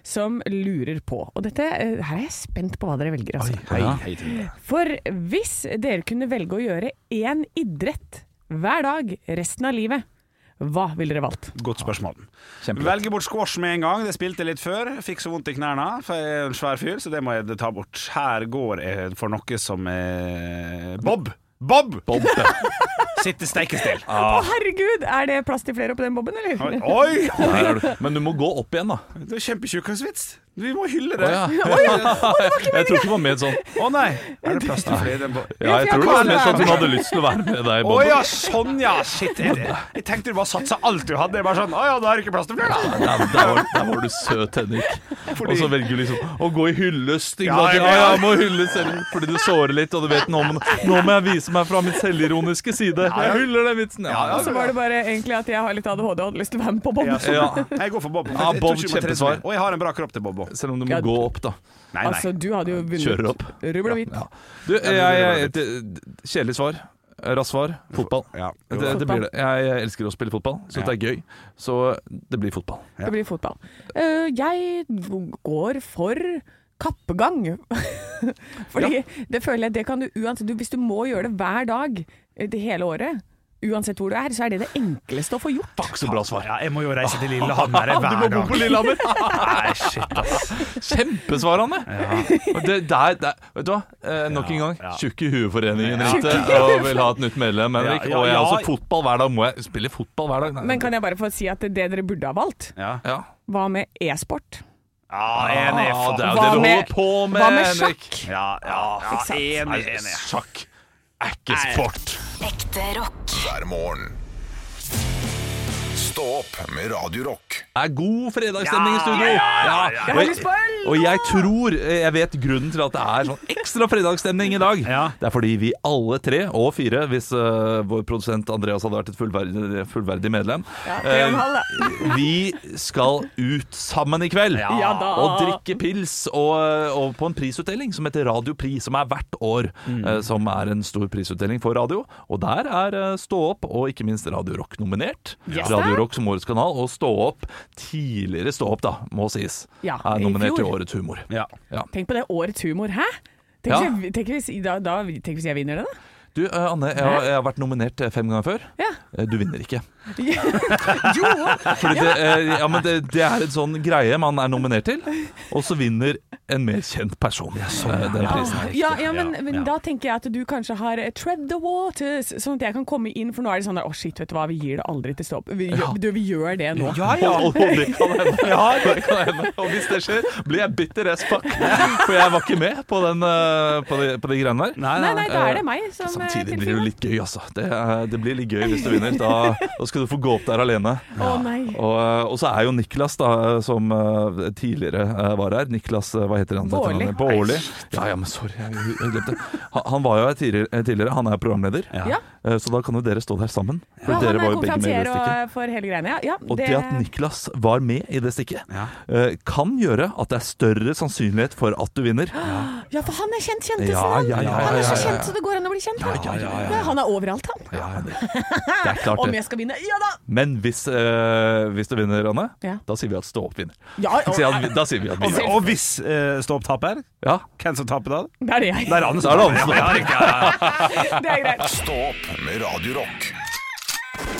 S5: som lurer på. Og dette, eh, her er jeg spent på hva dere velger. Altså.
S3: Hei, hei, Trude.
S5: For hvis dere kunne velge å gjøre én idrett hver dag resten av livet, hva ville dere valgt?
S3: Godt spørsmål. Velge bort squash med en gang. Det spilte jeg litt før. Fikk så vondt i knærne, for jeg er en svær fyr, så det må jeg ta bort. Her går jeg for noe som er Bob! Bob! <laughs> Sitte steikestill.
S5: Å herregud, er det plass til flere oppi den bobben,
S3: Ah. Oi,
S5: eller?
S3: oi!
S4: Der er du. Men du må gå opp igjen, da.
S3: Det er kjempetjukkasvits. Vi må hylle det. <laughs> Å
S4: Jeg tror ikke det var med sånn.
S3: nei! Er det plass til flere? Den bo-
S4: Ja, jeg tror det var mer sånn at hun hadde lyst til å være med deg.
S3: Å
S4: Bob.
S3: ja, sånn ja! Shit. Jeg, jeg tenkte du bare satsa alt du hadde. Jeg bare sånn, Å ja, da er det ikke plass til flere, da.
S4: Ja, der, var, der var du søt, Henrik. Og så velger du liksom å gå i hyllest. Ikke sant?
S3: Ja,
S4: Ja,
S3: ja.
S4: ja, jeg må hylle selv fordi du sårer litt, og du vet nå, må- nå må jeg vise meg fra min selvironiske side. Jeg hyller den vitsen. Ja,
S5: Og så var det bare egentlig at jeg har litt ADHD og hadde lyst til å være med på bob.
S3: Ja, sånn.
S4: ja.
S3: Jeg går for Bob.
S4: Ja,
S3: Jeg tror ikke
S4: Bob,
S3: du må trene
S4: kjempesvar.
S3: mer. Og jeg har en bra kropp til Bob òg.
S4: Selv om du må
S5: Ja.
S4: gå opp, da.
S3: Nei, nei.
S5: Altså, du hadde jo
S4: Kjører
S5: vunnet
S4: opp.
S5: rubbel og hvitt.
S4: Ja. Du, jeg, jeg, det- kjedelig svar. Raskt svar fotball.
S3: Ja.
S4: Det, det blir det. Jeg, jeg elsker å spille fotball, så det er gøy. Så det blir fotball.
S5: Det blir fotball. Eh, jeg går for kappegang. <laughs> Fordi det føler jeg det kan du uansett du, Hvis du må gjøre det hver dag eh, det hele året, uansett hvor du er, så er det det enkleste å få gjort.
S4: Så bra svar.
S3: Ja, jeg må jo reise til
S4: <laughs>
S3: Lillehammer hver
S4: Ah, Du må bo på Lillehammer!
S3: Nei, shit, ass.
S4: Kjempesvarende! Og Det, der, der, vet du hva? Eh, nok en gang,
S3: ja.
S4: Tjukke i hueforeningen ringte og vil ha et nytt medlem, Henrik.
S3: Ja, ja,
S4: Og jeg
S3: ja.
S4: også fotball hver dag. Må jeg spille fotball hver dag? Nei,
S5: Men kan jeg bare få si at det dere burde ha valgt,
S3: Ja.
S4: ja.
S5: hva med e-sport?
S3: ja, enig.
S4: Ah, det er jo
S5: Hva
S4: det du
S5: med-
S4: holder på med,
S5: Hva med
S4: Henrik.
S5: sjakk?
S3: Ja, ja, ja, enig, enig.
S4: Sjakk er ikke sport.
S7: Ekte rock.
S2: hver morgen. Stå opp med Radio Rock.
S4: Det er god fredagsstemning i studio.
S3: Ja, ja, ja, ja.
S5: Jeg har lyst på øl!
S4: Og jeg tror eh, jeg vet grunnen til at det er sånn ekstra fredagsstemning i dag.
S3: Ja.
S4: Det er fordi vi alle tre, og fire, hvis eh, vår produsent Andreas hadde vært et fullverdig, fullverdig medlem
S5: tre og en
S4: eh,
S5: halv, da.
S4: Vi skal ut sammen i kveld
S5: Ja da.
S4: og drikke pils og, og på en prisutdeling som heter Radio Pri, som er hvert år.
S5: Mm.
S4: eh, Som er en stor prisutdeling for radio. Og der er eh, Stå opp og ikke minst Radio Rock nominert.
S5: Yes,
S4: Radio
S5: da.
S4: Rock som årets kanal, og Stå opp, tidligere Stå opp, da, må sies,
S5: Ja,
S4: er
S5: i
S4: nominert til
S5: fjor.
S4: Årets humor.
S3: Ja.
S5: Tenk på det, årets humor, hæ? Tenk,
S4: Ja.
S5: hvis, jeg, tenk, hvis, da, da, tenk hvis jeg vinner det, da?
S4: Du, eh, Anne, jeg har, jeg har vært nominert eh, fem ganger før.
S5: Ja.
S4: Eh, Du vinner ikke.
S5: Jo!
S4: Fordi det, eh, ja, men det, det er en sånn greie man er nominert til, og så vinner en mer kjent person eh, den prisen.
S5: sånn, Ja, ja, men,
S3: Ja,
S5: men
S3: ja.
S5: da tenker jeg at du kanskje har eh, tread the waters, sånn at jeg kan komme inn, for nå er det sånn der, å shit, vet du hva, vi gir det aldri til stopp. Vi, gjør- du, vi gjør det nå.
S4: Og, og det kan hende. det kan hende. Og hvis det skjer, blir jeg bitter as fuck. For jeg var ikke med på, den, eh, på, de, på de greiene der.
S5: Nei, nei, da er det meg som eh,
S4: Samtidig blir det jo
S5: tilfinner.
S4: litt gøy, altså. Det, eh, det blir litt gøy hvis du vinner. Da, da skal du få gå opp der alene.
S5: Å nei.
S4: Og, eh, og så er jo Niklas, da, som eh, tidligere eh, var her Niklas, eh, hva heter han?
S5: Baarli.
S4: Etternavnet? Baarli. Ja, ja, men sorry, jeg, jeg glemte det. Han, han var jo her tidligere, eh, tidligere, han er programleder.
S5: Ja.
S4: Eh, Så da kan jo dere stå der sammen. For
S5: Ja, han
S4: dere
S5: er
S4: var jo begge med i
S5: konferansier
S4: det
S5: og
S4: stikket.
S5: eh, for hele greiene. Ja, ja,
S4: Og det at Niklas var med i det stikket,
S3: Ja.
S4: eh, kan gjøre at det er større sannsynlighet for at du vinner.
S5: ja, for han er kjent kjentisen,
S4: Ja,
S5: han.
S4: ja, ja,
S5: han er
S4: ja,
S5: så
S4: ja, ja.
S5: kjent så det går an å bli kjent. han. Ja, han er overalt, han. Ah,
S4: Ja, det, det er klart
S5: Om
S4: det.
S5: jeg skal vinne? Ja da!
S4: Men hvis, eh, hvis du vinner, Anne,
S5: Ja.
S4: da sier vi at stå opp vinner.
S5: Ja,
S4: Da
S5: å,
S4: sier, han- da sier vi at vi vinner.
S3: Og hvis eh, Stå opp taper,
S4: Ja.
S3: hvem som taper da?
S5: det er det jeg.
S3: Det er Anne
S4: Da er det Anne som
S3: Ja, riktig, ja, ja.
S5: Det er greit.
S2: Stå opp med Radio Rock.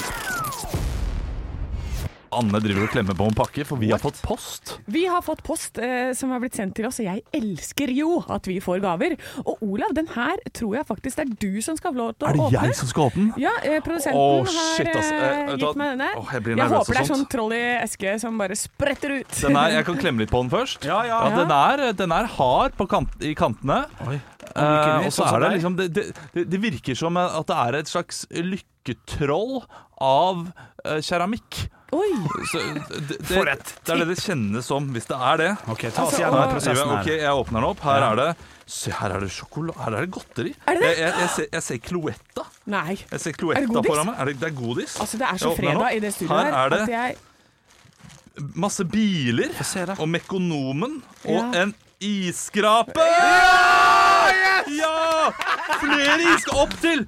S4: Anne driver og klemmer på en pakke, for vi har fått post.
S5: Vi har fått post eh, som har blitt sendt til oss, og jeg elsker jo at vi får gaver. Og Olav, den her tror jeg faktisk det er du som skal få lov til
S4: Er
S5: å
S4: det
S5: åpne.
S4: jeg som skal åpne den?
S5: Ja, eh, produsenten
S4: Åh,
S5: har
S4: shit, ass. Eh,
S5: eh,
S4: vet du hva?
S5: gitt meg denne.
S4: Åh, jeg blir nervøs
S5: håper det
S4: og
S5: er
S4: sånt.
S5: sånn troll i eske som bare spretter ut.
S4: Den er, jeg kan klemme litt på den først.
S3: Ja, ja.
S4: den, er, den er hard på kant, i kantene.
S3: ikke
S4: Eh,
S3: minst Altså,
S4: og så
S3: også
S4: er det
S3: der.
S4: liksom det, det, det, det virker som at det er et slags lykketroll av eh, keramikk.
S5: <laughs> Oi!
S4: Så, eh, det, det,
S3: For et
S4: det er det det kjennes som, hvis det er det.
S3: <laughs> Ok, ta oss
S5: Altså,
S3: gjennom
S5: og-
S3: prosessen
S4: Ok,
S3: her.
S4: jeg åpner den opp. Her er det Se, her er det sjokolade Her er det godteri.
S5: Er det det?
S4: Jeg, jeg, jeg, ser, jeg ser kloetta.
S5: Nei.
S4: Jeg ser
S5: Er det
S4: kloetta
S5: godis?
S4: foran meg. Er det, det er godis.
S5: Altså, det er
S4: Jeg
S5: så
S4: åpner den opp.
S5: fredag i det studioet
S4: Her er det
S5: at jeg
S4: masse biler og Mekonomen og
S5: Ja.
S4: en isskrape! Ja! Flere isk opp til!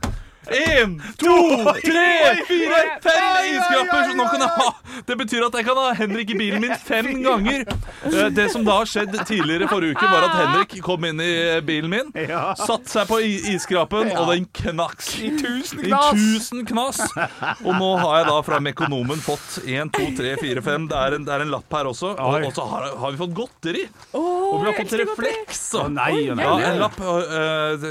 S4: Én, to, tre, fire, fem iskrapper! Så nå kan jeg ha Det betyr at jeg kan ha Henrik i bilen min fem ganger. Eh, Det som da har skjedd tidligere forrige uke, var at Henrik kom inn i eh, bilen min,
S8: Ja.
S4: satte seg på i- isskrapen, og den knakk. I tusen knas! Og nå har jeg da fra Mekonomen fått 1, 2, 3, 4, 5. Det er en, det er en lapp her også.
S3: Oi.
S4: Og, og så har, har vi fått godteri. Og vi har fått
S5: elsker godteri.
S4: refleks. og-
S3: Å, nei, å, nei.
S4: ja, en lapp. øh,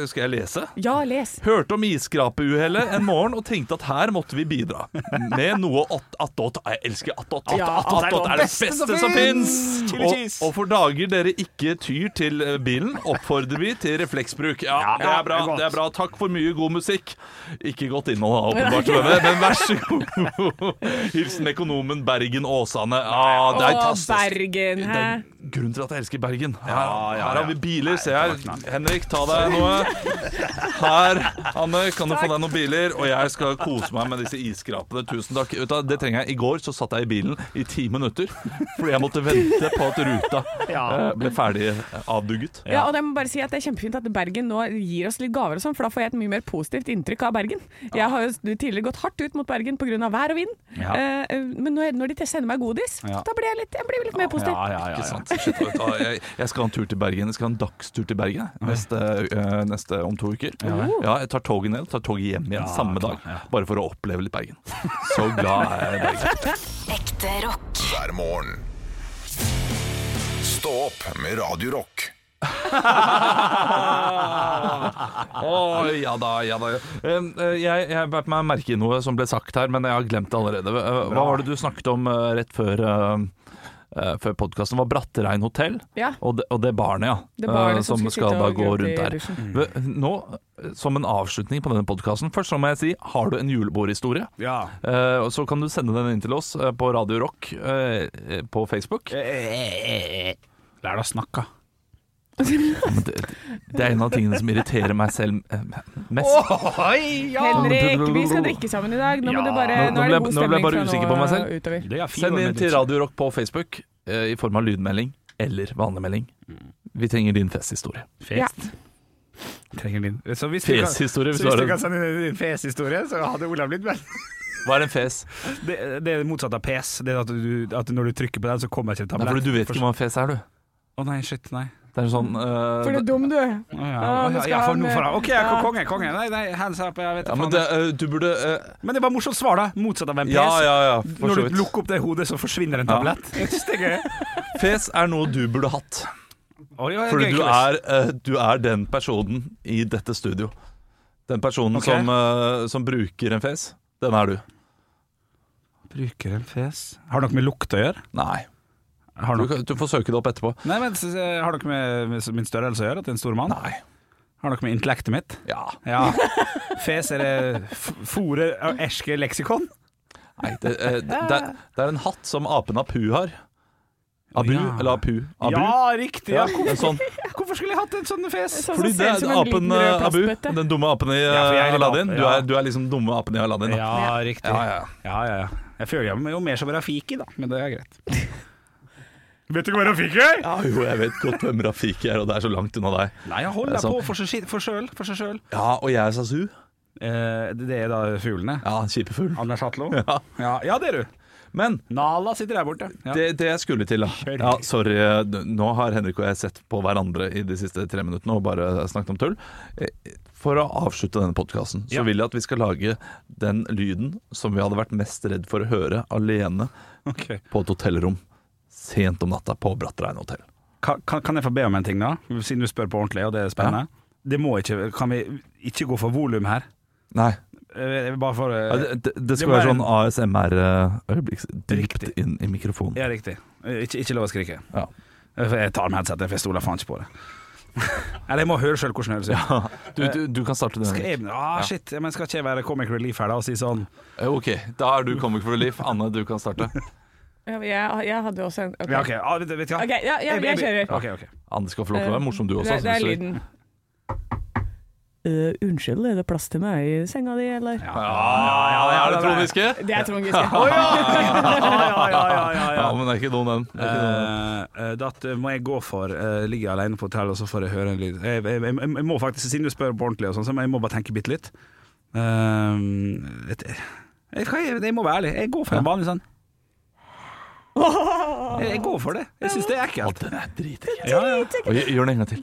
S4: øh, skal jeg lese?
S5: Ja, les.
S4: Hørte om iskrapeuhellet en morgen og tenkte at her måtte vi bidra. Med noe att- attåt. Jeg elsker attåt. Attåt
S5: Ja,
S4: attåt er det beste som fins!
S3: Chili
S4: Og,
S3: cheese.
S4: og for dager dere ikke tyr til eh, bilen, oppfordrer vi til refleksbruk. Ja, det er bra.
S3: det er godt.
S4: det er bra. Takk for mye god musikk. Ikke godt innhold, da, åpenbart, Løve, men vær så god. <laughs> Hilsen økonomen Bergen Åsane. Ja, det er
S5: Å,
S4: fantastisk.
S5: Bergen, hæ?
S4: Det er grunnen til at jeg elsker Bergen. Her,
S3: Ja, ja,
S4: her har
S3: ja.
S4: vi biler. Se her. Henrik, ta deg noe. Her, Anne, kan du få deg noen biler? Og jeg skal kose meg med disse isskrapene. Tusen takk. Vet du hva, Det trenger jeg. I går så satt jeg i bilen i ti minutter fordi jeg måtte vente på at ruta eh, ble ferdig avdugget.
S5: Ja, og jeg må bare si at Det er kjempefint at Bergen nå gir oss litt gaver, og sånn, for da får jeg et mye mer positivt inntrykk av Bergen. Jeg har jo tidligere gått hardt ut mot Bergen pga. vær og vind,
S3: Ja.
S5: Eh, men når, når de sender meg godis,
S3: Ja.
S5: da blir jeg litt, jeg blir litt mer positiv.
S3: Ja, ja, ja,
S4: Ikke
S3: ja.
S4: sant? Shit, vet du hva, jeg, jeg skal ha en tur til Bergen. Jeg skal ha en dagstur til Bergen jeg, neste, eh, neste om to uker. Ja, jeg tar toget ned, tar toget hjem igjen samme dag. Bare for å oppleve litt Bergen. Så glad er jeg i Bergen.
S7: Ekte rock.
S2: hver morgen. Stå opp med Radio Rock.
S4: Å, ja da, ja da. Eh, eh, Jeg, jeg bet meg merke i noe som ble sagt her, men jeg har glemt det allerede. Eh, Hva var det du snakket om eh, rett før eh, eh, før podkasten var Bratterein hotell
S5: Ja.
S4: og, det, og det barnet, ja.
S5: Det barnet
S4: eh,
S5: som
S4: som
S5: skulle
S4: skal
S5: sitte
S4: da
S5: og
S4: gå
S5: gråte i
S4: rundt der.
S5: dusjen.
S4: Ve- Nå, eh, som en avslutning på denne podkasten, først så må jeg si har du en julebordhistorie?
S3: Ja.
S4: Eh, og så eh, kan du sende den inn til oss eh, på Radio Rock eh, eh, på Facebook.
S3: Lær deg å snakke.
S4: Men det, det er en av tingene som irriterer meg selv eh, mest.
S5: Henrik, vi skal drikke sammen i dag. Nå, må du bare,
S4: Nå- nå
S5: nå, er
S4: ble-
S5: det
S4: nå ble jeg
S5: god stemning
S4: bare
S5: fra
S4: usikker på meg selv.
S5: eh, utover.
S3: Det er fint
S4: Send
S3: å være
S4: inn til
S3: medvirkende.
S4: Radio Rock på Facebook eh, i form av lydmelding eller vanlig melding.
S3: Mm.
S4: Vi trenger din festhistorie.
S5: Ja.
S3: Trenger din. Så hvis du kan-
S4: Feshistorie,
S3: så
S4: hvis
S3: hvis
S4: du har
S3: du kan
S4: en.
S3: sende inn din feshistorie, så hadde Olav blitt med.
S4: Hva er en fes?
S3: Det, <laughs> det er det motsatte av pes. Det er at, du, at når du trykker på den, så kommer ikke en
S4: Nei,
S3: tablett.
S4: fordi du vet ikke hva en fes er, du.
S3: Å nei, shit, nei.
S4: Det er en sånn eh,
S5: For det er dum du er.
S3: Å, ja,
S5: Ah,
S3: å,
S5: nå
S3: ja,
S5: skal
S3: ja, for
S5: han,
S3: nå får han OK, jeg
S5: ja.
S3: er konge, konge. Nei, nei, hands up, jeg vet
S4: ja,
S3: da
S4: men
S3: faen.
S4: det,
S3: Men det,
S4: eh, du burde eh,
S3: var morsomt svar, da. Motsatt av en pes.
S4: Ja, ja, ja, for så
S3: Når du
S4: vidt.
S3: lukker opp det hodet, så forsvinner en
S4: Ja.
S3: tablett. Jeg synes <laughs> det er gøy.
S4: Fes er noe du burde hatt.
S3: Å, det var
S4: Fordi
S3: gøy,
S4: du
S3: Chris.
S4: er, eh, du er den personen i dette studio. Den personen
S3: Ok.
S4: som, eh, som bruker en fes. Den er du.
S3: Bruker en fes Har det noe med lukt å gjøre?
S4: Nei.
S3: Har
S4: Du,
S3: det noe,
S4: kan- du får søke det opp etterpå.
S3: nei, men, s- s- har det noe med med min størrelse å gjøre? At jeg er en stor mann?
S4: Nei.
S3: Har det noe med intellektet mitt?
S4: Ja.
S3: Ja.
S4: <laughs>
S3: Fes er det f- fore av erske leksikon?
S4: Nei, det, eh, det, det, er- det er en hatt som apen Apu har. Abu,
S3: Ja.
S4: eller Apu. Abu.
S3: Ja, riktig.
S4: Ja,
S3: Ja.
S4: en sånn.
S3: Hvorfor skulle jeg hatt en sånn fes?
S5: Sånn som
S4: Fordi det
S5: ser ut
S4: er
S5: som en
S4: apen
S5: liten rød
S4: eh, Abu,
S5: plastbøtte.
S4: den dumme apen i eh,
S3: Ja, for jeg er litt
S4: Aladdin.
S3: ape,
S4: Du
S3: ja.
S4: er, du er liksom dumme apen i Aladdin. da.
S3: Ja, riktig.
S4: Ja, ja, ja.
S3: Ja, ja, ja. Jeg føler jeg meg jo mer som Rafiki, da, men det er greit. <laughs> Vet du ikke hva Rafiki er?
S4: Ja, jo, jeg vet godt hvem Rafiki er, og det er så langt unna deg.
S3: Nei, jeg
S4: Det
S3: holder
S4: er sånn.
S3: på for seg sjøl. For seg selv, for seg selv.
S4: Ja, og jeg er Sasu.
S3: Eh, det er da fuglene.
S4: Ja, han kjipe fuglen.
S3: Anders Hatlo.
S4: Ja.
S3: Ja, ja, det er du.
S4: Men
S3: Nala sitter der borte. Ja.
S4: det, det jeg skulle til, da ja, Sorry, nå har Henrik og jeg sett på hverandre i de siste tre minuttene og bare snakket om tull. Eh, For å avslutte denne podkasten, så
S3: Ja.
S4: vil jeg at vi skal lage den lyden som vi hadde vært mest redd for å høre alene
S3: Ok.
S4: på et hotellrom sent om natta på Brattrein hotell.
S3: Kan, kan kan jeg få be om en ting, da? Siden du spør på ordentlig, og det er spennende. Det må ikke Kan vi ikke gå for volum her?
S4: Nei.
S3: Eh, Bare for eh,
S4: Ja, det, det, det skal
S3: det
S4: være
S3: var
S4: sånn ASMR-øyeblikk dypt
S3: Riktig.
S4: inn i mikrofonen.
S3: Ja, riktig. Eh, Ikke, ikke lov å skrike.
S4: Ja.
S3: Eh, for Jeg tar med headsetet, for jeg stoler faen ikke på det. <laughs> Eller jeg må høre sjøl hvordan det høres ut.
S4: Du, du, du kan starte den.
S3: Skal
S4: Henrik.
S3: jeg, ah, shit, ja, men skal ikke jeg være comic relief her da og si sånn
S4: Eh, OK, da er du comic for relief. Anne, du kan starte.
S5: Ja, Jeg, jeg hadde også en
S3: Ja, OK, ah, vet, vet du hva?
S5: Ok, ja, ja, jeg kjører.
S3: Ok, ok.
S4: Anne skal få lov til å være morsom, du også.
S5: Det, det
S4: hvis
S5: er
S4: du vil.
S5: lyden. Eh, unnskyld, er det plass til meg i senga di, eller?
S3: Ja,
S4: Ja, ja, er det Trond Giske?
S5: Det er
S3: <laughs>
S5: Trond Giske.
S3: ja, ja, ja, ja,
S4: Ja,
S3: ja.
S4: men det er ikke dum, den. Det er ikke dum,
S3: Eh,
S4: den.
S3: eh, da t- må jeg gå for uh, ligge alene på hotell, og så får jeg høre en lyd. Jeg, jeg, jeg, jeg må faktisk, siden du spør på ordentlig, og sånn, så må jeg må bare tenke bitte litt. Eh, vet- jeg, vet hva, jeg, jeg må være ærlig. Jeg går for en vanlig
S5: <laughs>
S3: sånn. Jeg, jeg går for det. Jeg syns det er ekkelt.
S4: Den er dritekkel.
S3: Ja,
S5: <laughs>
S3: ja.
S4: Og gjør- Gjør den en gang til.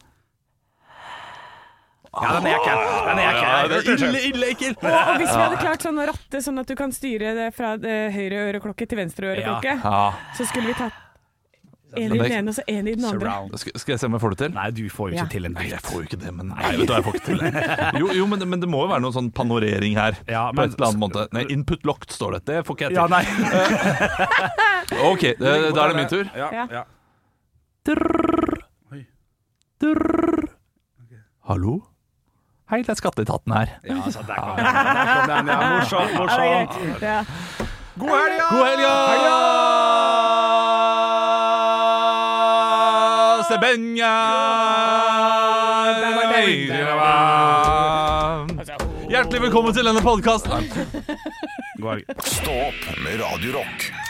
S3: ja den er ekkel. Den er ekkel. Jeg hørte det selv.
S4: ille ekkel!
S5: Og hvis vi hadde klart sånn å ratte, sånn at du kan styre det fra eh, høyre øreklokke til venstre øreklokke,
S4: Ja.
S5: så skulle vi tatt en i den ene og så en i den andre.
S3: Surround.
S4: Skal, skal jeg se om jeg får det til?
S3: Nei, du får jo
S5: Ja.
S3: ikke til en
S4: Nei,
S3: dritt.
S4: jeg får jo ikke det, men Nei, vet du hva, jeg får ikke til det. Jo, jo men, men det må jo være noe sånn panorering her.
S3: Ja,
S4: på
S3: men-
S4: et eller annet måte. Nei, input locked står det. Det får ikke jeg
S3: Ja,
S4: til.
S3: nei.
S4: <laughs> OK, eh, da er det min tur.
S3: Ja,
S5: Ja.
S3: ja. Oi.
S4: Hallo? Hei, det er skatteetaten her.
S3: ja så der kom den. Der kom den. Ja, morsomt,
S5: Ja, det er
S3: morsomt.
S5: greit. Ja.
S3: God helg! ja!
S4: God helg! ja! Sebenja!
S3: Altså,
S4: Hjertelig velkommen til denne podkasten.
S3: God helg.
S2: Stå opp med Radio Rock.